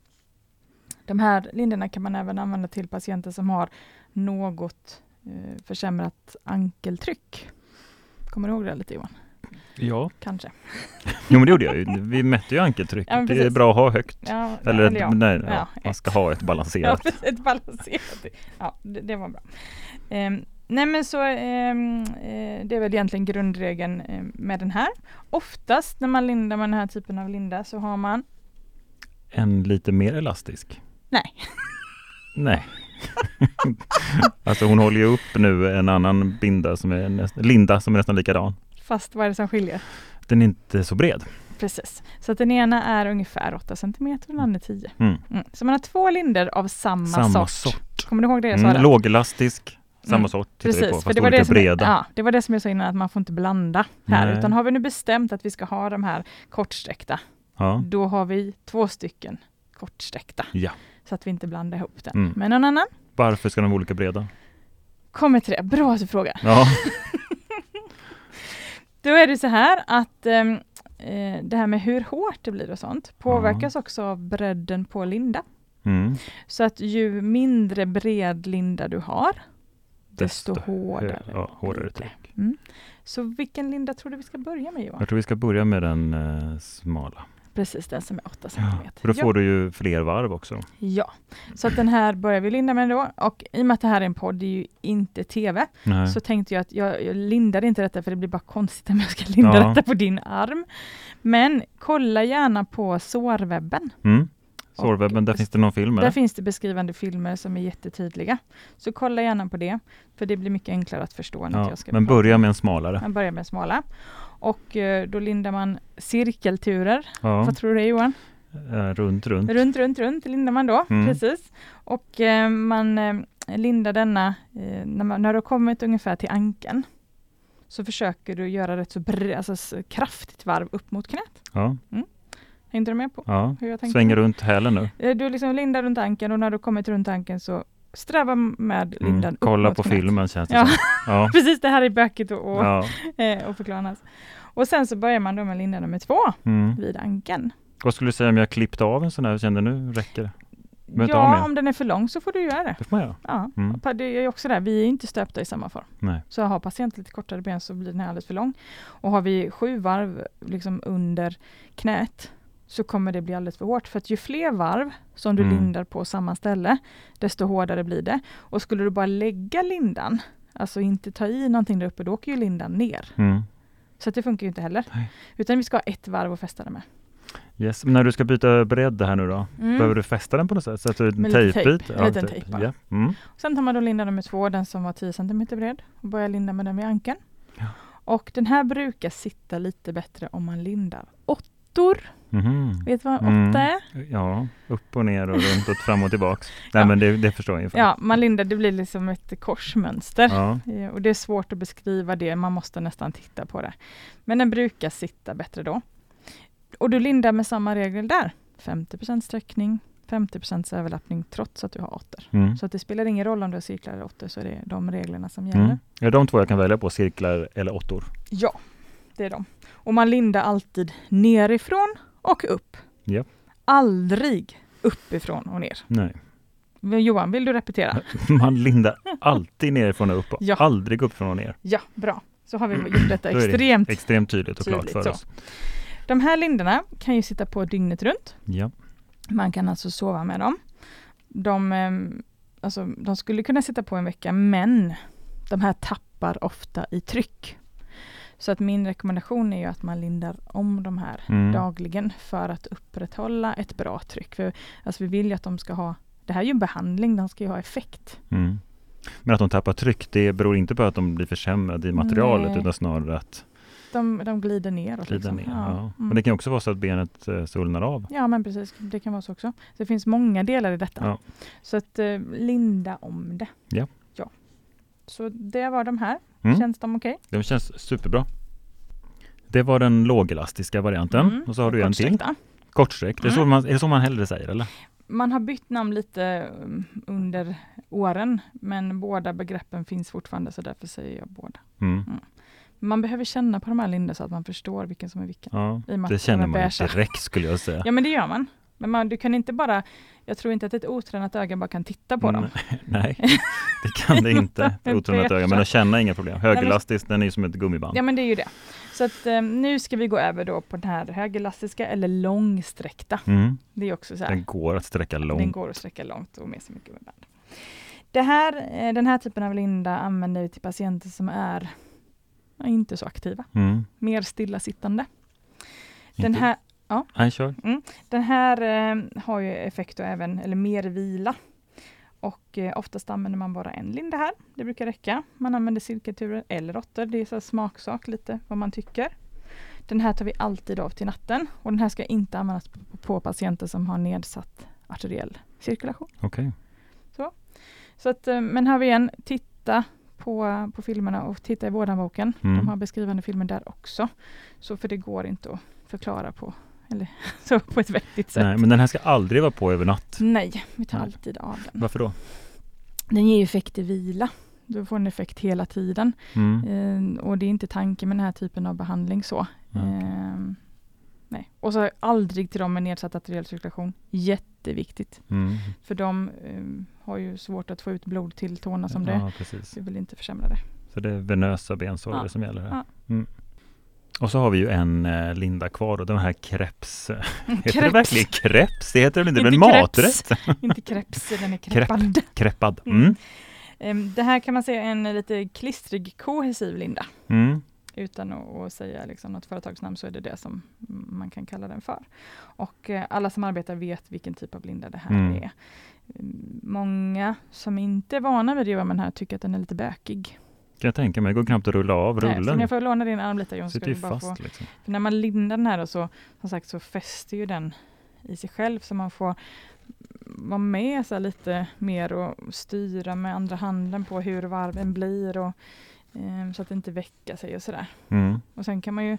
B: De här linderna kan man även använda till patienter som har något eh, försämrat ankeltryck. Kommer du ihåg det lite Johan?
A: Ja.
B: Kanske.
A: Jo men det gjorde jag ju. Vi mätte ju ankeltryck.
B: Ja, men
A: det är
B: precis.
A: bra att ha högt.
B: Ja,
A: Eller,
B: ja.
A: nej, ja.
B: Ja,
A: man ska ha ett balanserat.
B: Ja, precis, ett balanserat. Ja, det, det var bra. Ehm, nej men så ehm, eh, det är väl egentligen grundregeln eh, med den här. Oftast när man lindar med den här typen av linda så har man
A: En lite mer elastisk.
B: Nej.
A: Nej. alltså hon håller ju upp nu en annan binda som är näst, linda som är nästan likadan.
B: Fast vad är det som skiljer?
A: Den är inte så bred.
B: Precis. Så att den ena är ungefär 8 cm och den andra 10.
A: Mm.
B: Mm. Så man har två linder av samma,
A: Samma
B: sort.
A: sort.
B: Kommer du ihåg det jag sa?
A: Mm,
B: där?
A: lågelastisk, samma
B: Mm,
A: sort. tittar vi på,
B: Precis,
A: fast
B: för det var
A: olika
B: det, som,
A: breda.
B: ja, det var det som jag sa innan, att man får inte blanda här.
A: Nej.
B: Utan har vi nu bestämt att vi ska ha de här kortsträckta,
A: Ja.
B: då har vi två stycken kortsträckta.
A: Ja.
B: Så att vi inte blandar ihop den.
A: Mm.
B: Men någon annan?
A: Varför ska de vara olika breda?
B: Kommer till det. Bra att du frågar.
A: Ja.
B: Då är det så här att ehm, eh, det här med hur hårt det blir och sånt påverkas också av bredden på linda.
A: Mm.
B: Så att ju mindre bred linda du har, desto,
A: Desto
B: hårdare.
A: Ja, hårdare
B: lite.
A: tryck.
B: Så vilken linda tror du vi ska börja med Johan?
A: Jag tror vi ska börja med den eh, smala.
B: Precis den som är 8 cm.
A: Ja. För då får du ju fler varv också.
B: ja, så att den här börjar vi linda med då. Och i och med att det här är en podd, det är ju inte TV,
A: Nej.
B: så tänkte jag att jag, jag lindar inte detta för det blir bara konstigt om jag ska linda
A: Ja.
B: detta på din arm. Men kolla gärna på sårwebben.
A: Mm. Sårwebben, där
B: Och-
A: finns det någon film
B: Där
A: eller?
B: finns det beskrivande filmer som är jättetydliga. Så kolla gärna på det, för det blir mycket enklare att förstå. än att
A: Ja.
B: jag ska
A: Men
B: prata.
A: börja med en smalare.
B: Man börjar med smala. Och eh, då lindar man cirkelturer.
A: Ja.
B: Vad tror du det är Johan?
A: Eh, Runt, runt.
B: Runt, runt, runt lindar man då.
A: Mm.
B: Precis. Och eh, man eh, lindar denna, eh, när, man, när du har kommit ungefär till ankeln, så försöker du göra rätt så br- alltså, s- kraftigt varv upp mot knät.
A: Ja.
B: Hängde du med på
A: Ja.
B: hur jag tänkte?
A: Svänger runt hälen nu.
B: Eh, Du liksom lindar runt ankeln och när du har kommit runt ankeln så sträva med lindan
A: Mm.
B: upp
A: Kolla
B: mot
A: på
B: knät.
A: filmen känns det
B: Ja.
A: som. Ja.
B: Precis, det här är bökigt att och,
A: ja.
B: eh, och förklara. annars. Och sen så börjar man då med linda nummer två
A: Mm.
B: vid ankeln.
A: Vad skulle du säga om jag klippte av en sån här och kände nu räcker det? Behöver inte ha mer.
B: Ja, om den är för lång så får du göra det.
A: Det får man göra.
B: Ja.
A: Mm.
B: Pa- Det är ju också det, här, vi är inte stöpta i samma form.
A: Nej.
B: Så har patienten lite kortare ben så blir den här alldeles för lång. Och har vi sju varv liksom under knät så kommer det bli alldeles för hårt. För att ju fler varv som du
A: Mm.
B: lindar på samma ställe, desto hårdare blir det. Och skulle du bara lägga lindan, alltså inte ta i någonting där uppe, då åker ju lindan ner.
A: Mm.
B: Så att det funkar ju inte heller.
A: Nej.
B: Utan vi ska ha ett varv att fästa det med.
A: Yes. Men när du ska byta bredd här nu då?
B: Mm.
A: Behöver du fästa den på något sätt? Sätter du
B: Med
A: en
B: lite
A: tejpbit?
B: tejp. En liten tejp bara.
A: Ja. Mm.
B: Sen tar man då linda nummer två, den som var 10 cm bred och börjar linda med den vid ankeln.
A: Ja.
B: Och den här brukar sitta lite bättre om man lindar åttor.
A: Mhm.
B: Vet du vad en
A: Mm.
B: åtta är?
A: Ja, upp och ner och runt och fram och tillbaks. Nej
B: Ja.
A: men det, det förstår jag ju.
B: Ja, man lindar, det blir liksom ett korsmönster.
A: Ja.
B: Eh, Och det är svårt att beskriva det, man måste nästan titta på det. Men den brukar sitta bättre då. Och du lindar med samma regel där. 50 sträckning, 50 överlappning trots att du har åttor.
A: Mm.
B: Så att det spelar ingen roll om du har cirklar eller åttor så är det de reglerna som gäller.
A: Mm. Är det de två jag kan välja på? Cirklar eller åttor?
B: Ja, det är de. Och man lindar alltid nerifrån och upp.
A: Ja.
B: Aldrig uppifrån och ner.
A: Nej.
B: Men Johan, vill du repetera?
A: Man lindar alltid nerifrån och upp och
B: Ja.
A: aldrig uppifrån och ner.
B: Ja, bra. Så har vi gjort detta
A: Då är det
B: extremt.
A: Extremt tydligt och
B: Tydligt
A: klart för
B: så.
A: oss.
B: De här linderna kan ju sitta på dygnet runt.
A: Ja.
B: Man kan alltså sova med dem. De, ehm, alltså, de skulle kunna sitta på en vecka, men de här tappar ofta i tryck. Så att min rekommendation är ju att man lindar om de här
A: Mm.
B: dagligen för att upprätthålla ett bra tryck. För, alltså vi vill ju att de ska ha, det här är ju en behandling, de ska ju ha effekt.
A: Mm. Men att de tappar tryck, det beror inte på att de blir försämrade i materialet
B: Nej.
A: utan snarare att
B: De, de glider neråt.
A: glida
B: liksom.
A: ner. Ja.
B: Mm.
A: Men det kan också vara så att benet eh, svullnar av.
B: ja men precis, det kan vara så också. Så det finns många delar i detta.
A: Ja.
B: Så att eh, linda om det.
A: Ja.
B: ja. Så det var de här,
A: Mm.
B: känns de okej?
A: Den känns superbra. Det var den lågelastiska varianten.
B: Mm.
A: Och så har du en till.
B: Kortsträckta.
A: Kortsträckt. Är, det så
B: Mm.
A: man, är det så man hellre säger eller?
B: man har bytt namn lite mm, under åren, men båda begreppen finns fortfarande, så därför säger jag båda.
A: Mm.
B: Man behöver känna på de här Linda, så att man förstår vilken som är vilken.
A: Ja,
B: I och med
A: det
B: att
A: känner
B: de är
A: man ju
B: beiga.
A: direkt skulle jag säga.
B: Ja, men det gör man. Men man, du kan inte bara, jag tror inte att ett otränat öga bara kan titta på dem.
A: Mm, Nej, det kan det inte.
B: Men
A: Otroligt öga, men att känna inga problem. Högelastisk, den är ju som ett gummiband.
B: Ja, men det är ju det. Så att eh, nu ska vi gå över då på den här högelastiska eller långsträckta.
A: Mm,
B: Det är också så här.
A: den går att sträcka
B: Den
A: långt.
B: går att sträcka långt och med sig mycket gummiband. Det här, eh, den här typen av linda använder vi till patienter som är ja, inte så aktiva,
A: Mm.
B: mer stillasittande. Den
A: Inte-
B: här,
A: Nej, kör.
B: den här eh, har ju effekt då även, eller mer vila. Och eh, oftast använder man bara en linda här. Det brukar räcka. Man använder cirkelturer eller råttor. Det är så här smaksak lite vad man tycker. Den här tar vi alltid av till natten och den här ska inte användas på- på patienter som har nedsatt arteriell cirkulation.
A: Okej.
B: Så att, eh, men här har vi igen, titta på, på filmerna och titta i vårdanboken.
A: Mm.
B: De har beskrivande filmer där också. Så för det går inte att förklara på, eller, så på ett vettigt sätt. Mm.
A: Nej, men den här ska aldrig vara på över natt.
B: Nej, vi tar
A: Nej.
B: alltid av den.
A: Varför då?
B: Den ger ju effekt i vila. Du får en effekt hela tiden.
A: Mm.
B: Eh, och det är inte tanken med den här typen av behandling så.
A: Ja.
B: Ehm, nej. Och så aldrig till dem med nedsatt arteriell cirkulation. Jätteviktigt.
A: Mm.
B: För de eh, har ju svårt att få ut blod till tårna som det är.
A: Ja, precis.
B: Så vi vill inte försämra det.
A: Så det är venösa bensorger
B: Ja.
A: som gäller här.
B: Ja.
A: Mm. Och så har vi ju en eh, linda kvar och den här kreps. Heter det
B: Kreps.
A: verkligen kreps? Det heter det väl inte?
B: Inte
A: Men
B: kreps.
A: maträtt?
B: Inte kreps, den är
A: Krepp.
B: kreppande.
A: Kreppad. Mm.
B: Em, Det här kan man säga är en lite klistrig kohesiv linda.
A: Mm.
B: Utan att, att säga liksom något företagsnamn så är det det som man kan kalla den för. Och eh, alla som arbetar vet vilken typ av linda det här
A: Mm.
B: är. Mm, Många som inte är vana vid att jobba med den här tycker att den är lite bökig.
A: Kan jag tänka mig. Det går knappt att rulla av
B: Nej, så om
A: rullen.
B: jag får låna din arm lite Jon, ska
A: Sitter ju
B: du bara få
A: fast liksom.
B: För när man lindar den här då så, som sagt, så fäster ju den i sig själv så man får vara med så här lite mer och styra med andra handen på hur varven blir och ehm, så att det inte väcker sig och sådär.
A: Mm.
B: Och sen kan man ju,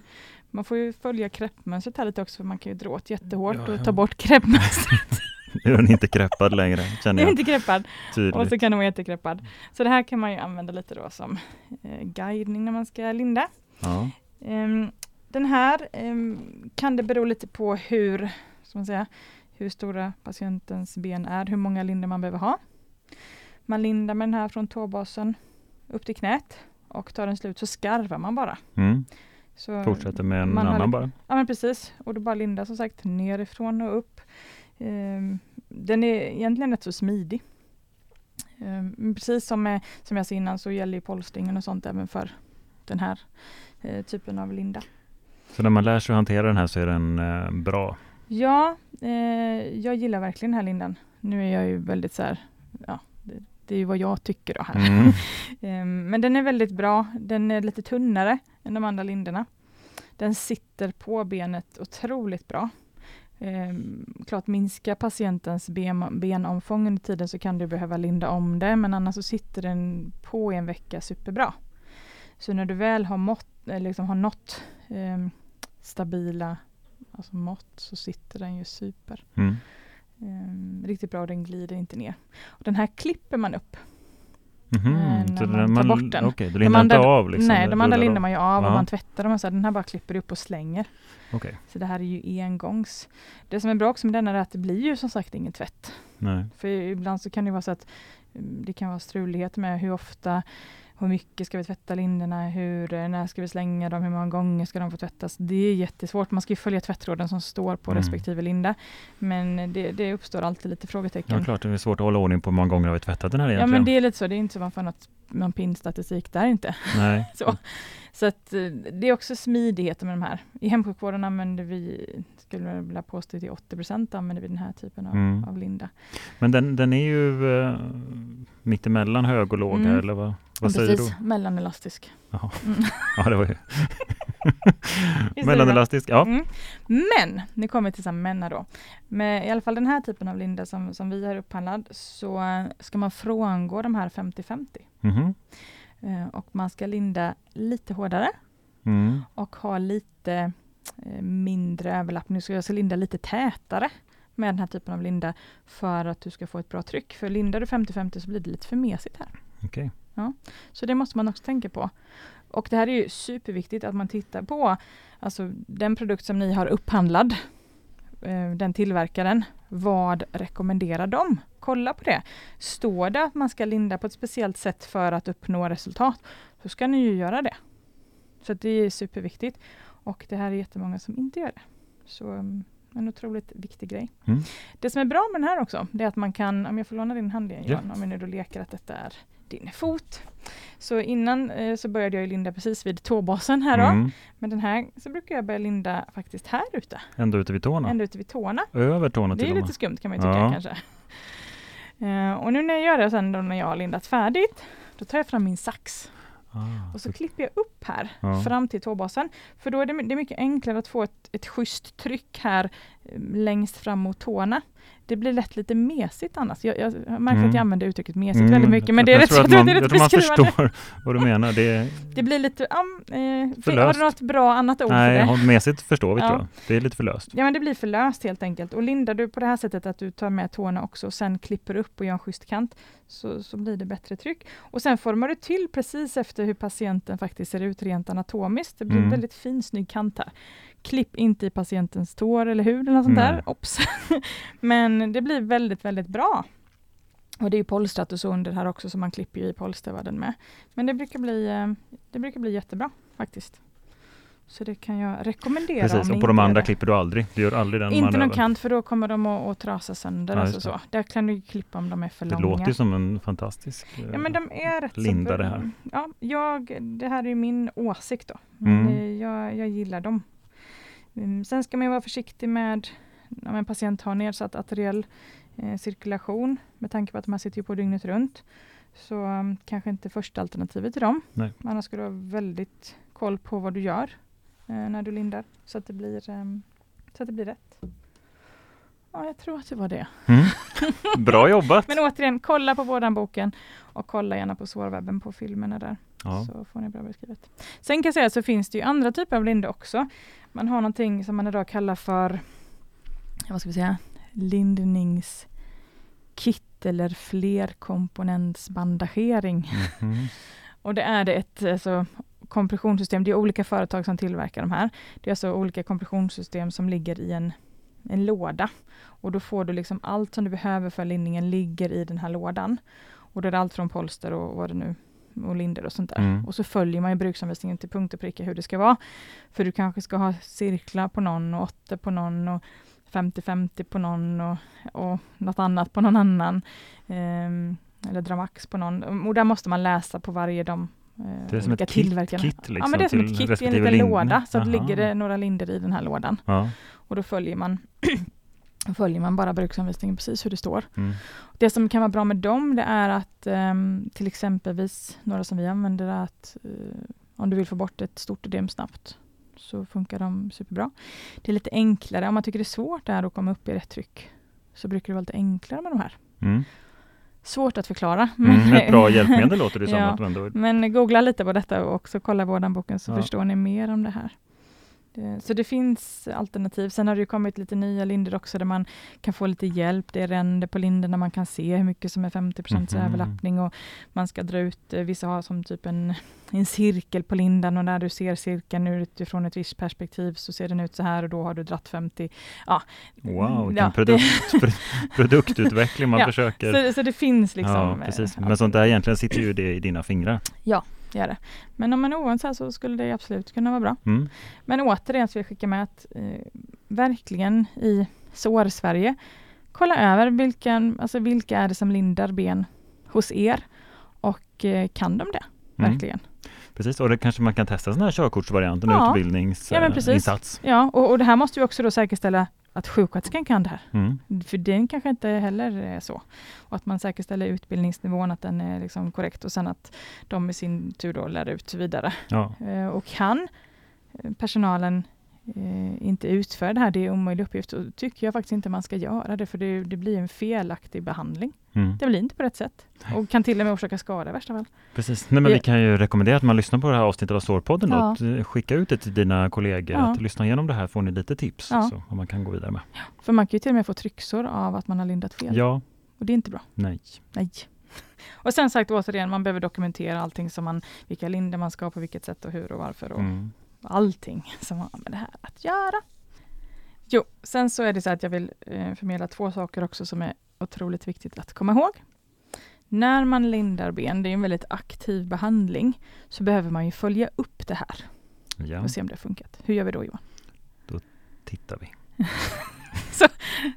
B: man får ju följa kreppmönstret här lite också för man kan ju dra åt jättehårt
A: Ja, ja.
B: och ta bort kreppmönstret.
A: Nu är den inte kreppad längre,
B: Det
A: känner
B: är
A: jag
B: inte kreppad och
A: tydligt.
B: så kan den vara jättekreppad. Så det här kan man ju använda lite då som eh, guidning när man ska linda.
A: Ja.
B: Ehm, den här ehm, kan det bero lite på hur, ska man säga, hur stora patientens ben är, hur många lindor man behöver ha. Man lindar med den här från tåbasen upp till knät och tar den slut så skarvar man bara.
A: Mm.
B: Så,
A: Fortsätter med en
B: Man har
A: annan
B: lite-
A: bara.
B: Ja men precis, och då bara lindar som sagt nerifrån och upp. Ehm, den är egentligen rätt så smidig. Ehm, men precis som, med, som jag sa innan så gäller ju polstringen och sånt även för den här eh, typen av linda.
A: Så när man lär sig att hantera den här så är den eh, bra.
B: Ja, eh, jag gillar verkligen den här lindan. Nu är jag ju väldigt så här, ja, det, det är ju vad jag tycker då här.
A: Mm.
B: Ehm, men den är väldigt bra. Den är lite tunnare än de andra lindorna. Den sitter på benet otroligt bra. Ehm, klart minskar patientens ben, benomfång under tiden så kan du behöva linda om det men annars så sitter den på i en vecka superbra. Så när du väl har, mått, eh, liksom har nått ehm, stabila alltså mått så sitter den ju super.
A: Mm.
B: Ehm, riktigt bra och den glider inte ner. Och den här klipper man upp
A: Mhm.
B: Eh, när
A: Så
B: man tar bort den.
A: Okej, du lindar inte
B: andra-
A: av liksom?
B: Nej,
A: den
B: de andra
A: rullar
B: lindar man ju av och
A: Ja.
B: man tvättar dem och så här. Den här bara klipper upp och slänger.
A: av. Okej,
B: Så det här är ju engångs. Det som är bra också med denna är att det blir ju som sagt ingen tvätt.
A: nej.
B: För ibland så kan det vara så att mm, det kan vara strulighet med hur ofta, hur mycket ska vi tvätta lindorna, hur, eh, när ska vi slänga dem, hur många gånger ska de få tvättas. Det är jättesvårt. Man ska ju följa tvättråden som står på
A: Mm.
B: respektive linda. Men eh, det, det uppstår alltid lite
A: Ja,
B: frågetecken.
A: klart. Det är svårt att hålla ordning på hur många gånger har vi tvättat den här
B: Ja
A: egentligen.
B: men det är lite så, det är inte så man får något, någon pinstatistik där inte.
A: Nej.
B: Så, så att, eh, det är också smidigheten med de här. I hemsjukvården använder vi, skulle jag vilja påstå till 80 använder vi den här typen av,
A: Mm.
B: av linda.
A: Men den, den är ju eh, mittemellan hög och låg
B: Mm.
A: här, eller vad, vad säger du? Mm.
B: Precis, mellanelastisk.
A: Ja, det var ju
B: det bra?
A: mellanelastisk. Ja.
B: Mm. Men, nu kommer vi till så här menna då. Med i alla fall den här typen av linda som, som vi har upphandlad så eh, ska man frångå de här 50-50.
A: Mhm.
B: Eh, Och man ska linda lite hårdare
A: Mm.
B: och ha lite eh, mindre överlappning. Så jag ska linda lite tätare. med den här typen av linda för att du ska få ett bra tryck. För lindar du 50-50 så blir det lite för mesigt här.
A: Okej.
B: Så det måste man också tänka på. Och det här är ju superviktigt att man tittar på alltså den produkt som ni har upphandlad, eh, den tillverkaren, vad rekommenderar de? Kolla på det. Står det att man ska linda på ett speciellt sätt för att uppnå resultat, så ska ni ju göra det. Så att det är superviktigt. Och det här är jättemånga som inte gör det. Så mm, en otroligt viktig grej.
A: Mm.
B: Det som är bra med den här också, det är att man kan, om jag får låna din hand igen
A: Ja.
B: Johan, om vi nu då leker att detta är din fot. Så innan eh, så började jag ju linda precis vid tåbasen här då.
A: Mm.
B: Men den här så brukar jag börja linda faktiskt här ute,
A: Ända ute vid tårna.
B: ända ute vid tårna.
A: Över tårna
B: Det
A: till
B: är
A: och
B: lite
A: med.
B: skumt kan man ju tycka
A: Ja.
B: kanske. Eh, och nu när jag gör det sen då när jag har lindat färdigt, då tar jag fram min sax
A: Ah,
B: och så klipper jag upp här
A: Ja.
B: fram till tåbasen. För då är det, my- det är mycket enklare att få ett, ett schysst tryck här eh, längst fram mot tårna. Det blir lätt lite mesigt annars. Jag, jag har märkt att
A: Mm.
B: jag använder uttrycket mesigt
A: Mm,
B: väldigt mycket,
A: jag
B: men det är rätt
A: tror
B: så
A: att man,
B: det är
A: jag
B: rätt
A: tror man
B: beskrivande.
A: förstår vad du menar. Det är,
B: Det blir lite, um, eh,
A: För
B: för, har
A: löst.
B: du något bra annat ord för det?
A: nej, har- mesigt förstår vi
B: Ja.
A: tror jag. Det är lite för löst.
B: Ja men det blir för löst helt enkelt. Och lindar du på det här sättet att du tar med tårna också och sen klipper upp och gör en schysst kant, så, så blir det bättre tryck. Och sen formar du till precis efter hur patienten faktiskt ser ut rent anatomiskt. Det blir
A: Mm.
B: en väldigt fin snygg kant här. Klipp inte i patientens tår eller hud eller något sånt
A: Nej.
B: där. Ops. men det blir väldigt, väldigt bra. Och det är ju polstrat och så under här också, så man klipper ju i polstervadden med. Men det brukar bli, eh, det brukar bli jättebra faktiskt. Så det kan jag rekommendera. om
A: Precis,
B: ni
A: och på de
B: inte gör
A: andra
B: det.
A: klipper du aldrig. Du gör aldrig den
B: Inte någon
A: manövern.
B: kant för då kommer de att, att trasa sönder.
A: Ja,
B: alltså
A: just det.
B: så. Där kan du ju klippa om de är för
A: Det
B: långa.
A: låter ju som en fantastisk... eh,
B: ja, men de är rätt så-
A: linda det här.
B: Ja, jag, det här är ju min åsikt då.
A: Mm.
B: Men, eh, jag, jag gillar dem. Mm, Sen ska man ju vara försiktig med om en patient har nedsatt arteriell eh, cirkulation med tanke på att man sitter ju på dygnet runt. Så mm, kanske inte första alternativet till dem.
A: Nej.
B: Men Annars ska du ha väldigt koll på vad du gör eh, när du lindar så att det blir, ehm, så att det blir rätt. Ja, jag tror att det var det.
A: Mm. Bra jobbat!
B: Men återigen, kolla på vårdan boken och kolla gärna på sårwebben på filmerna där.
A: Ja.
B: Så får ni bra beskrivet. Sen kan jag säga så finns det ju andra typer av linda också. Man har någonting som man idag kallar för vad ska vi säga, lindningskit eller flerkomponentsbandagering.
A: Mhm.
B: Och det är det ett alltså, kompressionssystem. Det är olika företag som tillverkar de här. Det är alltså olika kompressionssystem som ligger i en, en låda. Och då får du liksom allt som du behöver för lindningen ligger i den här lådan. Och då är det allt från polster och vad det nu och linder och sånt där.
A: Mm.
B: Och så följer man ju bruksanvisningen till punkt och pricka hur det ska vara. För du kanske ska ha cirklar på någon och åtta på någon och 50-50 på någon och, och något annat på någon annan. Ehm, eller Dramax på någon. Mm, Och där måste man läsa på varje de eh,
A: Det är som
B: olika
A: ett kit-
B: tillverkarna.
A: kit
B: ja,
A: liksom
B: men det är som
A: till
B: ett kit i en
A: respektive
B: liten
A: lin-
B: låda. Så att
A: Aha.
B: ligger det några linder i den här lådan.
A: Ja.
B: Och då följer man då följer man bara bruksanvisningen precis hur det står.
A: Mm.
B: Det som kan vara bra med dem det är att ehm, till exempelvis några som vi använder är att eh, om du vill få bort ett stort ödem snabbt så funkar de superbra. Det är lite enklare, om man tycker det är svårt det här att komma upp i rätt tryck så brukar det vara lite enklare med de här.
A: Mm.
B: Svårt att förklara.
A: Mm. Ett bra hjälpmedel låter det som.
B: Ja. Mm.
A: Att man ändå...
B: Men googla lite på detta och också kolla vårdanboken så
A: Ja.
B: förstår ni mer om det här. Det- Så det finns alternativ. Sen har det ju kommit lite nya linder också där man kan få lite hjälp. Det är ränder på linderna, man kan se hur mycket som är 50
A: Mhm.
B: överlappning och man ska dra ut, eh, vissa har som typ en, en cirkel på lindan och när du ser cirkeln utifrån ett visst perspektiv så ser den ut så här och då har du dratt 50. Ja.
A: Wow, vilken
B: Ja, det-
A: produkt, produktutveckling man
B: Ja,
A: försöker.
B: Så, så det finns liksom.
A: ja,
B: eh,
A: precis.
B: ja,
A: Men sånt där egentligen sitter ju det i dina fingrar.
B: det gör det. Men om man är oense här så skulle det absolut kunna vara bra.
A: Mm.
B: Men återigen så vill jag skicka med att eh, verkligen i sår-Sverige, kolla över vilken, alltså vilka är det som lindar ben hos er och eh, kan de det
A: Mm.
B: verkligen?
A: Precis, och det kanske man kan testa sån här körkortsvariant, eh, en
B: Ja. Ja, men precis.
A: utbildningsinsats.
B: Ja, och, och det här måste vi också då säkerställa att sjuksköterskan kan det här.
A: Mm.
B: För den kanske inte heller är så. Och att man säkerställer utbildningsnivån, att den är liksom korrekt och sen att de i sin tur då lär ut vidare.
A: Ja.
B: Eh, och kan eh, personalen eh, inte utför det här, det är en omöjlig uppgift, så tycker jag faktiskt inte man ska göra det, för det, det blir en felaktig behandling.
A: Mm.
B: Det blir inte på rätt sätt
A: Nej.
B: och kan till och med orsaka skada i värsta fall.
A: Precis. Nej, men vi
B: Ja.
A: kan ju rekommendera att man lyssnar på det här avsnittet av Sårpodden. då.
B: Ja.
A: Att, eh, Skicka ut det till dina kollegor.
B: Ja.
A: Att lyssna igenom det här får ni lite tips
B: Ja.
A: så, vad man kan gå vidare med.
B: För man kan ju till och med få trycksår av att man har lindat fel
A: Ja,
B: och det är inte bra.
A: nej.
B: Nej. Och sen sagt återigen, man behöver dokumentera allting som man, vilka linder man ska ha, på vilket sätt och hur och varför och
A: Mm.
B: allting som har med det här att göra. Jo, sen så är det så att jag vill eh, förmedla två saker också som är otroligt viktigt att komma ihåg. När man lindar ben, det är ju en väldigt aktiv behandling, så behöver man ju följa upp det här
A: Ja,
B: och se om det har funkat. Hur gör vi då Johan?
A: tittar vi.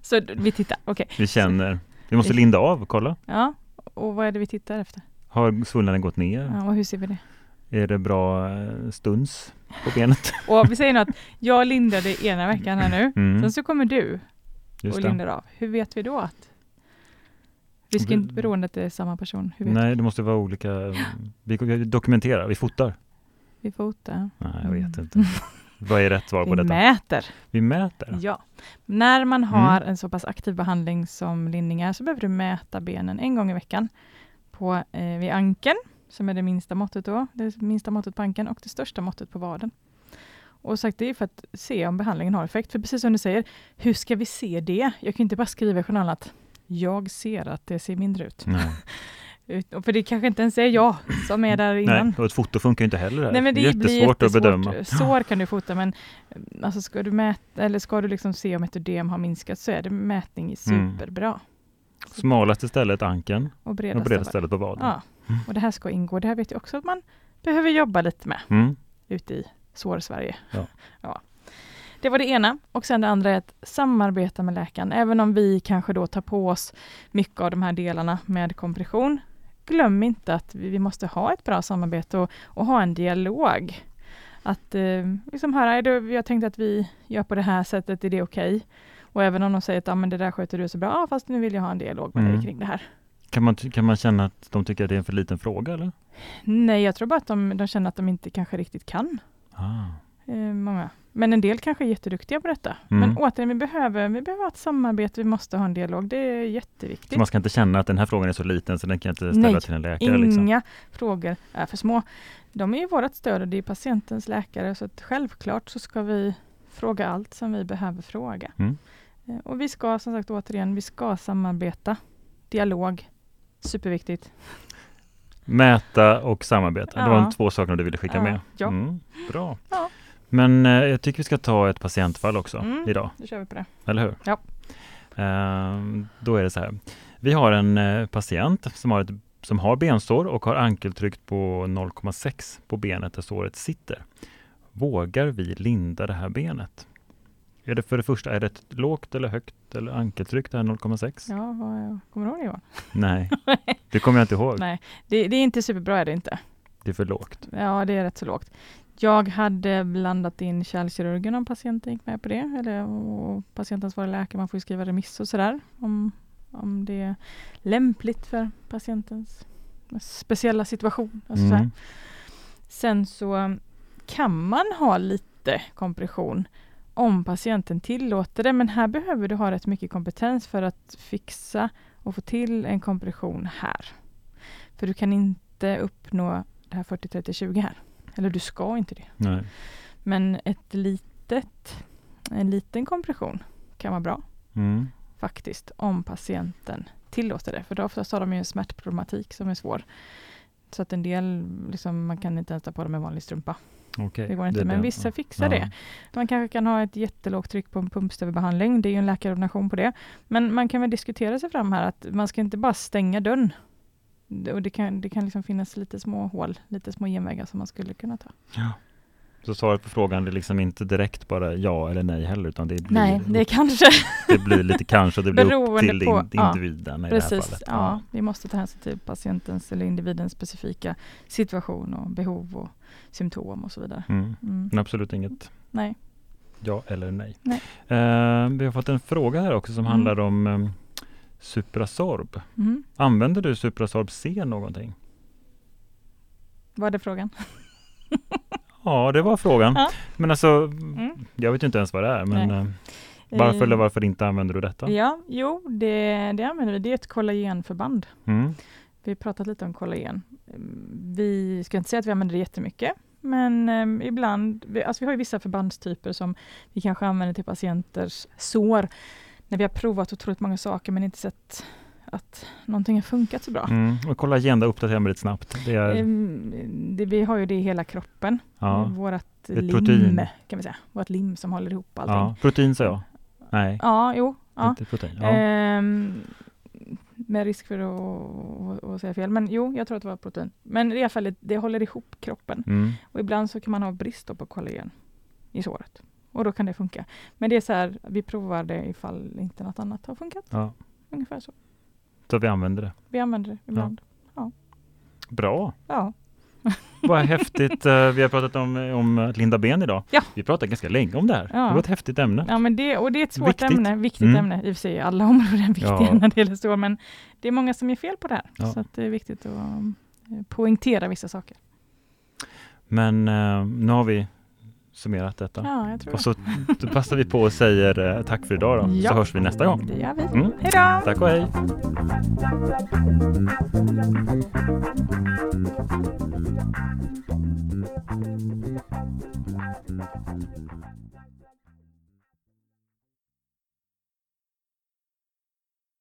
B: Så d- vi tittar, okej.
A: Vi känner. Vi måste linda av och kolla.
B: Ja, och vad är det vi tittar efter?
A: Har svullnaden gått ner?
B: Ja, och hur ser vi det?
A: Är det bra eh, stuns på benet?
B: Och vi säger nu att jag lindade ena veckan här nu,
A: Mm,
B: sen så kommer du
A: just
B: och
A: det.
B: lindar av. Hur vet vi då att vi ska
A: Vi-
B: inte beroende att det är samma person? Hur vet vi?
A: Nej, det måste vara olika. Vi dokumenterar, vi fotar.
B: Vi fotar.
A: Nej, jag vet
B: Mm.
A: inte. Vad är rätt svar på
B: Vi
A: detta? Mm.
B: mäter.
A: Vi mäter.
B: Ja. När man har en så pass aktiv behandling som lindning är så behöver du mäta benen en gång i veckan på, eh, vid ankeln, som är det minsta måttet då, det minsta måttet på ankeln och det största måttet på vaden. Och sagt, det är för att se om behandlingen har effekt. För precis som du säger, hur ska vi se det? Jag kan ju inte bara skriva i journalen att jag ser att det ser mindre ut.
A: Nej.
B: ut och för det kanske inte ens är jag som är där innan.
A: Mm. Nej, och ett foto funkar ju inte heller här.
B: Nej, men det blir
A: Jättesvårt att bedöma.
B: Sår kan du fota, men eh, alltså ska, du mäta, eller ska du liksom se om ett ödem har minskat så är det mätning
A: Mm.
B: superbra.
A: Smalaste stället ankeln
B: Och breda,
A: och breda
B: ställen.
A: stället på vaden.
B: Ja.
A: Mm.
B: Och det här ska ingå. Det här vet jag också att man behöver jobba lite med
A: Mm.
B: ute i Sår-Sverige.
A: Ja.
B: Ja. Det var det ena. Och sen det andra är att samarbeta med läkaren. Även om vi kanske då tar på oss mycket av de här delarna med kompression. Glöm inte att vi vi måste ha ett bra samarbete och, och ha en dialog. Att eh, liksom höra, "Är det- jag tänkte att vi gör på det här sättet, är det okej? Och även om de säger att ah, men det där sköter du så bra, ah, fast nu vill jag ha en dialog med
A: Mm.
B: dig kring det här.
A: Kan, man, kan man känna att de tycker att det är en för liten fråga eller?
B: Nej, jag tror bara att de, de känner att de inte kanske riktigt kan
A: Ah.
B: Eh, många. Men en del kanske är jätteduktiga på detta.
A: Mm.
B: Men återigen, vi behöver, vi behöver ha ett samarbete, vi måste ha en dialog. Det är
A: Så
B: jätteviktigt.
A: man ska inte känna att den här frågan är så liten så den kan jag inte ställa
B: Nej,
A: till en läkare.
B: Inga
A: Liksom.
B: frågor är för små. De är ju vårt stöd och det är patientens läkare. Så att självklart så ska vi fråga allt som vi behöver fråga.
A: Mm.
B: Eh, Och vi ska som sagt återigen, vi ska samarbeta. Dialog, superviktigt.
A: Mäta och samarbeta. Det var
B: Ja.
A: de två sakerna du ville skicka
B: Ja,
A: med.
B: ja.
A: Mm. Bra.
B: Ja.
A: Men eh, jag tycker vi ska ta ett patientfall också
B: Mm.
A: idag.
B: Då kör vi på det.
A: Eller hur?
B: Ja.
A: Ehm, då är det så här. Vi har en eh, patient som har, ett, som har bensår och har ankeltryck på 0,6 på benet där såret sitter. Vågar vi linda det här benet? Är det för det första, är det ett lågt eller högt eller ankeltryck det här 0,6?
B: Ja, vad, kommer du ihåg det Johan?
A: Nej, det kommer jag inte ihåg.
B: Nej. Det, det är inte superbra är det inte.
A: Det är för lågt.
B: Ja, det är rätt så lågt. Jag hade blandat in kärlkirurgen om patienten gick med på det. Eller och patientens vara läkare, man får ju skriva remiss och sådär. Om, om det är lämpligt för patientens speciella situation. Alltså så här.
A: Mm.
B: Sen så kan man ha lite kompression om patienten tillåter det. Men här behöver du ha rätt mycket kompetens för att fixa och få till en kompression här. För du kan inte uppnå det här 40-30-20 här. Eller du ska inte det.
A: Nej.
B: Men ett litet, en liten kompression kan vara bra
A: Mm.
B: faktiskt om patienten tillåter det. För då oftast har de ju en smärtproblematik som är svår. Så att en del, liksom, man kan inte ens ta på dem en vanlig strumpa.
A: Okej.
B: Det går inte,
A: är
B: men
A: den.
B: vissa fixar
A: Ja.
B: det. Man kanske kan ha ett jättelågt tryck på en pumpstövelbehandling. Det är ju en läkarordination på det. Men man kan väl diskutera sig fram här att man ska inte bara stänga dörren. Det- Och det kan, det kan liksom finnas lite små hål, lite små genvägar som man skulle kunna ta.
A: Så svaret på frågan är liksom inte direkt bara ja eller nej heller utan det blir,
B: Nej, det är kanske
A: det blir lite kanske och det blir upp
B: Beroende
A: till
B: på-
A: in,
B: ja,
A: individen i det här
B: precis.
A: fallet.
B: Ja, vi måste ta hänsyn till patientens eller individens specifika situation och behov och symptom och så vidare.
A: Mm.
B: Mm.
A: Men absolut inget
B: Nej.
A: ja eller nej.
B: Nej.
A: Eh, vi har fått en fråga här också som
B: Mm.
A: handlar om eh, Suprasorb.
B: Mhm.
A: Använder du Suprasorb C någonting?
B: Vad är frågan?
A: Ja, det var frågan.
B: Ja.
A: Men alltså,
B: Mm.
A: jag vet ju inte ens vad det är. Men eh, varför eller varför inte använder du detta?
B: Ja, jo, det, det använder vi. Det är ett kollagenförband.
A: Mm.
B: Vi har pratat lite om kollagen. Mm, Vi ska inte säga att vi använder det jättemycket, men eh, ibland, vi, alltså vi har ju vissa förbandstyper som vi kanske använder till patienters sår, när vi har provat otroligt många saker men inte sett att någonting har funkat så bra.
A: Mm. Och kolla agenda, uppdatera mig lite snabbt. Det är,
B: Ehm, Det, vi har ju det i hela kroppen,
A: Mm. ja,
B: vårt
A: är ett
B: lim
A: protein.
B: kan vi säga, vårt lim som håller ihop allting.
A: ja. Protein sa jag. Nej,
B: Ja, jo. Ja.
A: inte protein. Ja.
B: Ehm, med risk för att, att, att säga fel, men jo, jag tror att det var protein. Men i alla fall, det håller ihop kroppen.
A: Mm.
B: Och ibland så kan man ha brist då på kollagen i såret. Och då kan det funka. Men det är så här, vi provar det ifall inte något annat har funkat.
A: Ja.
B: Ungefär så.
A: Så vi använder det.
B: Vi använder det ibland.
A: Bra!
B: Ja.
A: Vad häftigt. Eh, Vi har pratat om, om att linda ben idag.
B: Ja.
A: Vi pratade ganska länge om det här.
B: Ja.
A: Det var ett häftigt ämne.
B: ja, men det, och det är ett svårt
A: Viktigt.
B: ämne. Viktigt
A: Mm.
B: ämne. I och för sig är alla områden viktiga
A: Ja.
B: när det gäller sår, men det är många som gör fel på det här.
A: Ja.
B: Så att det är viktigt att eh, poängtera vissa saker.
A: Men eh, nu har vi summerat detta.
B: Ja, jag tror
A: Och så då passar vi på och säger eh, tack för idag då.
B: Ja.
A: Så hörs vi nästa
B: det.
A: gång.
B: Det gör vi.
A: Mm.
B: Hej då!
A: Tack och hej!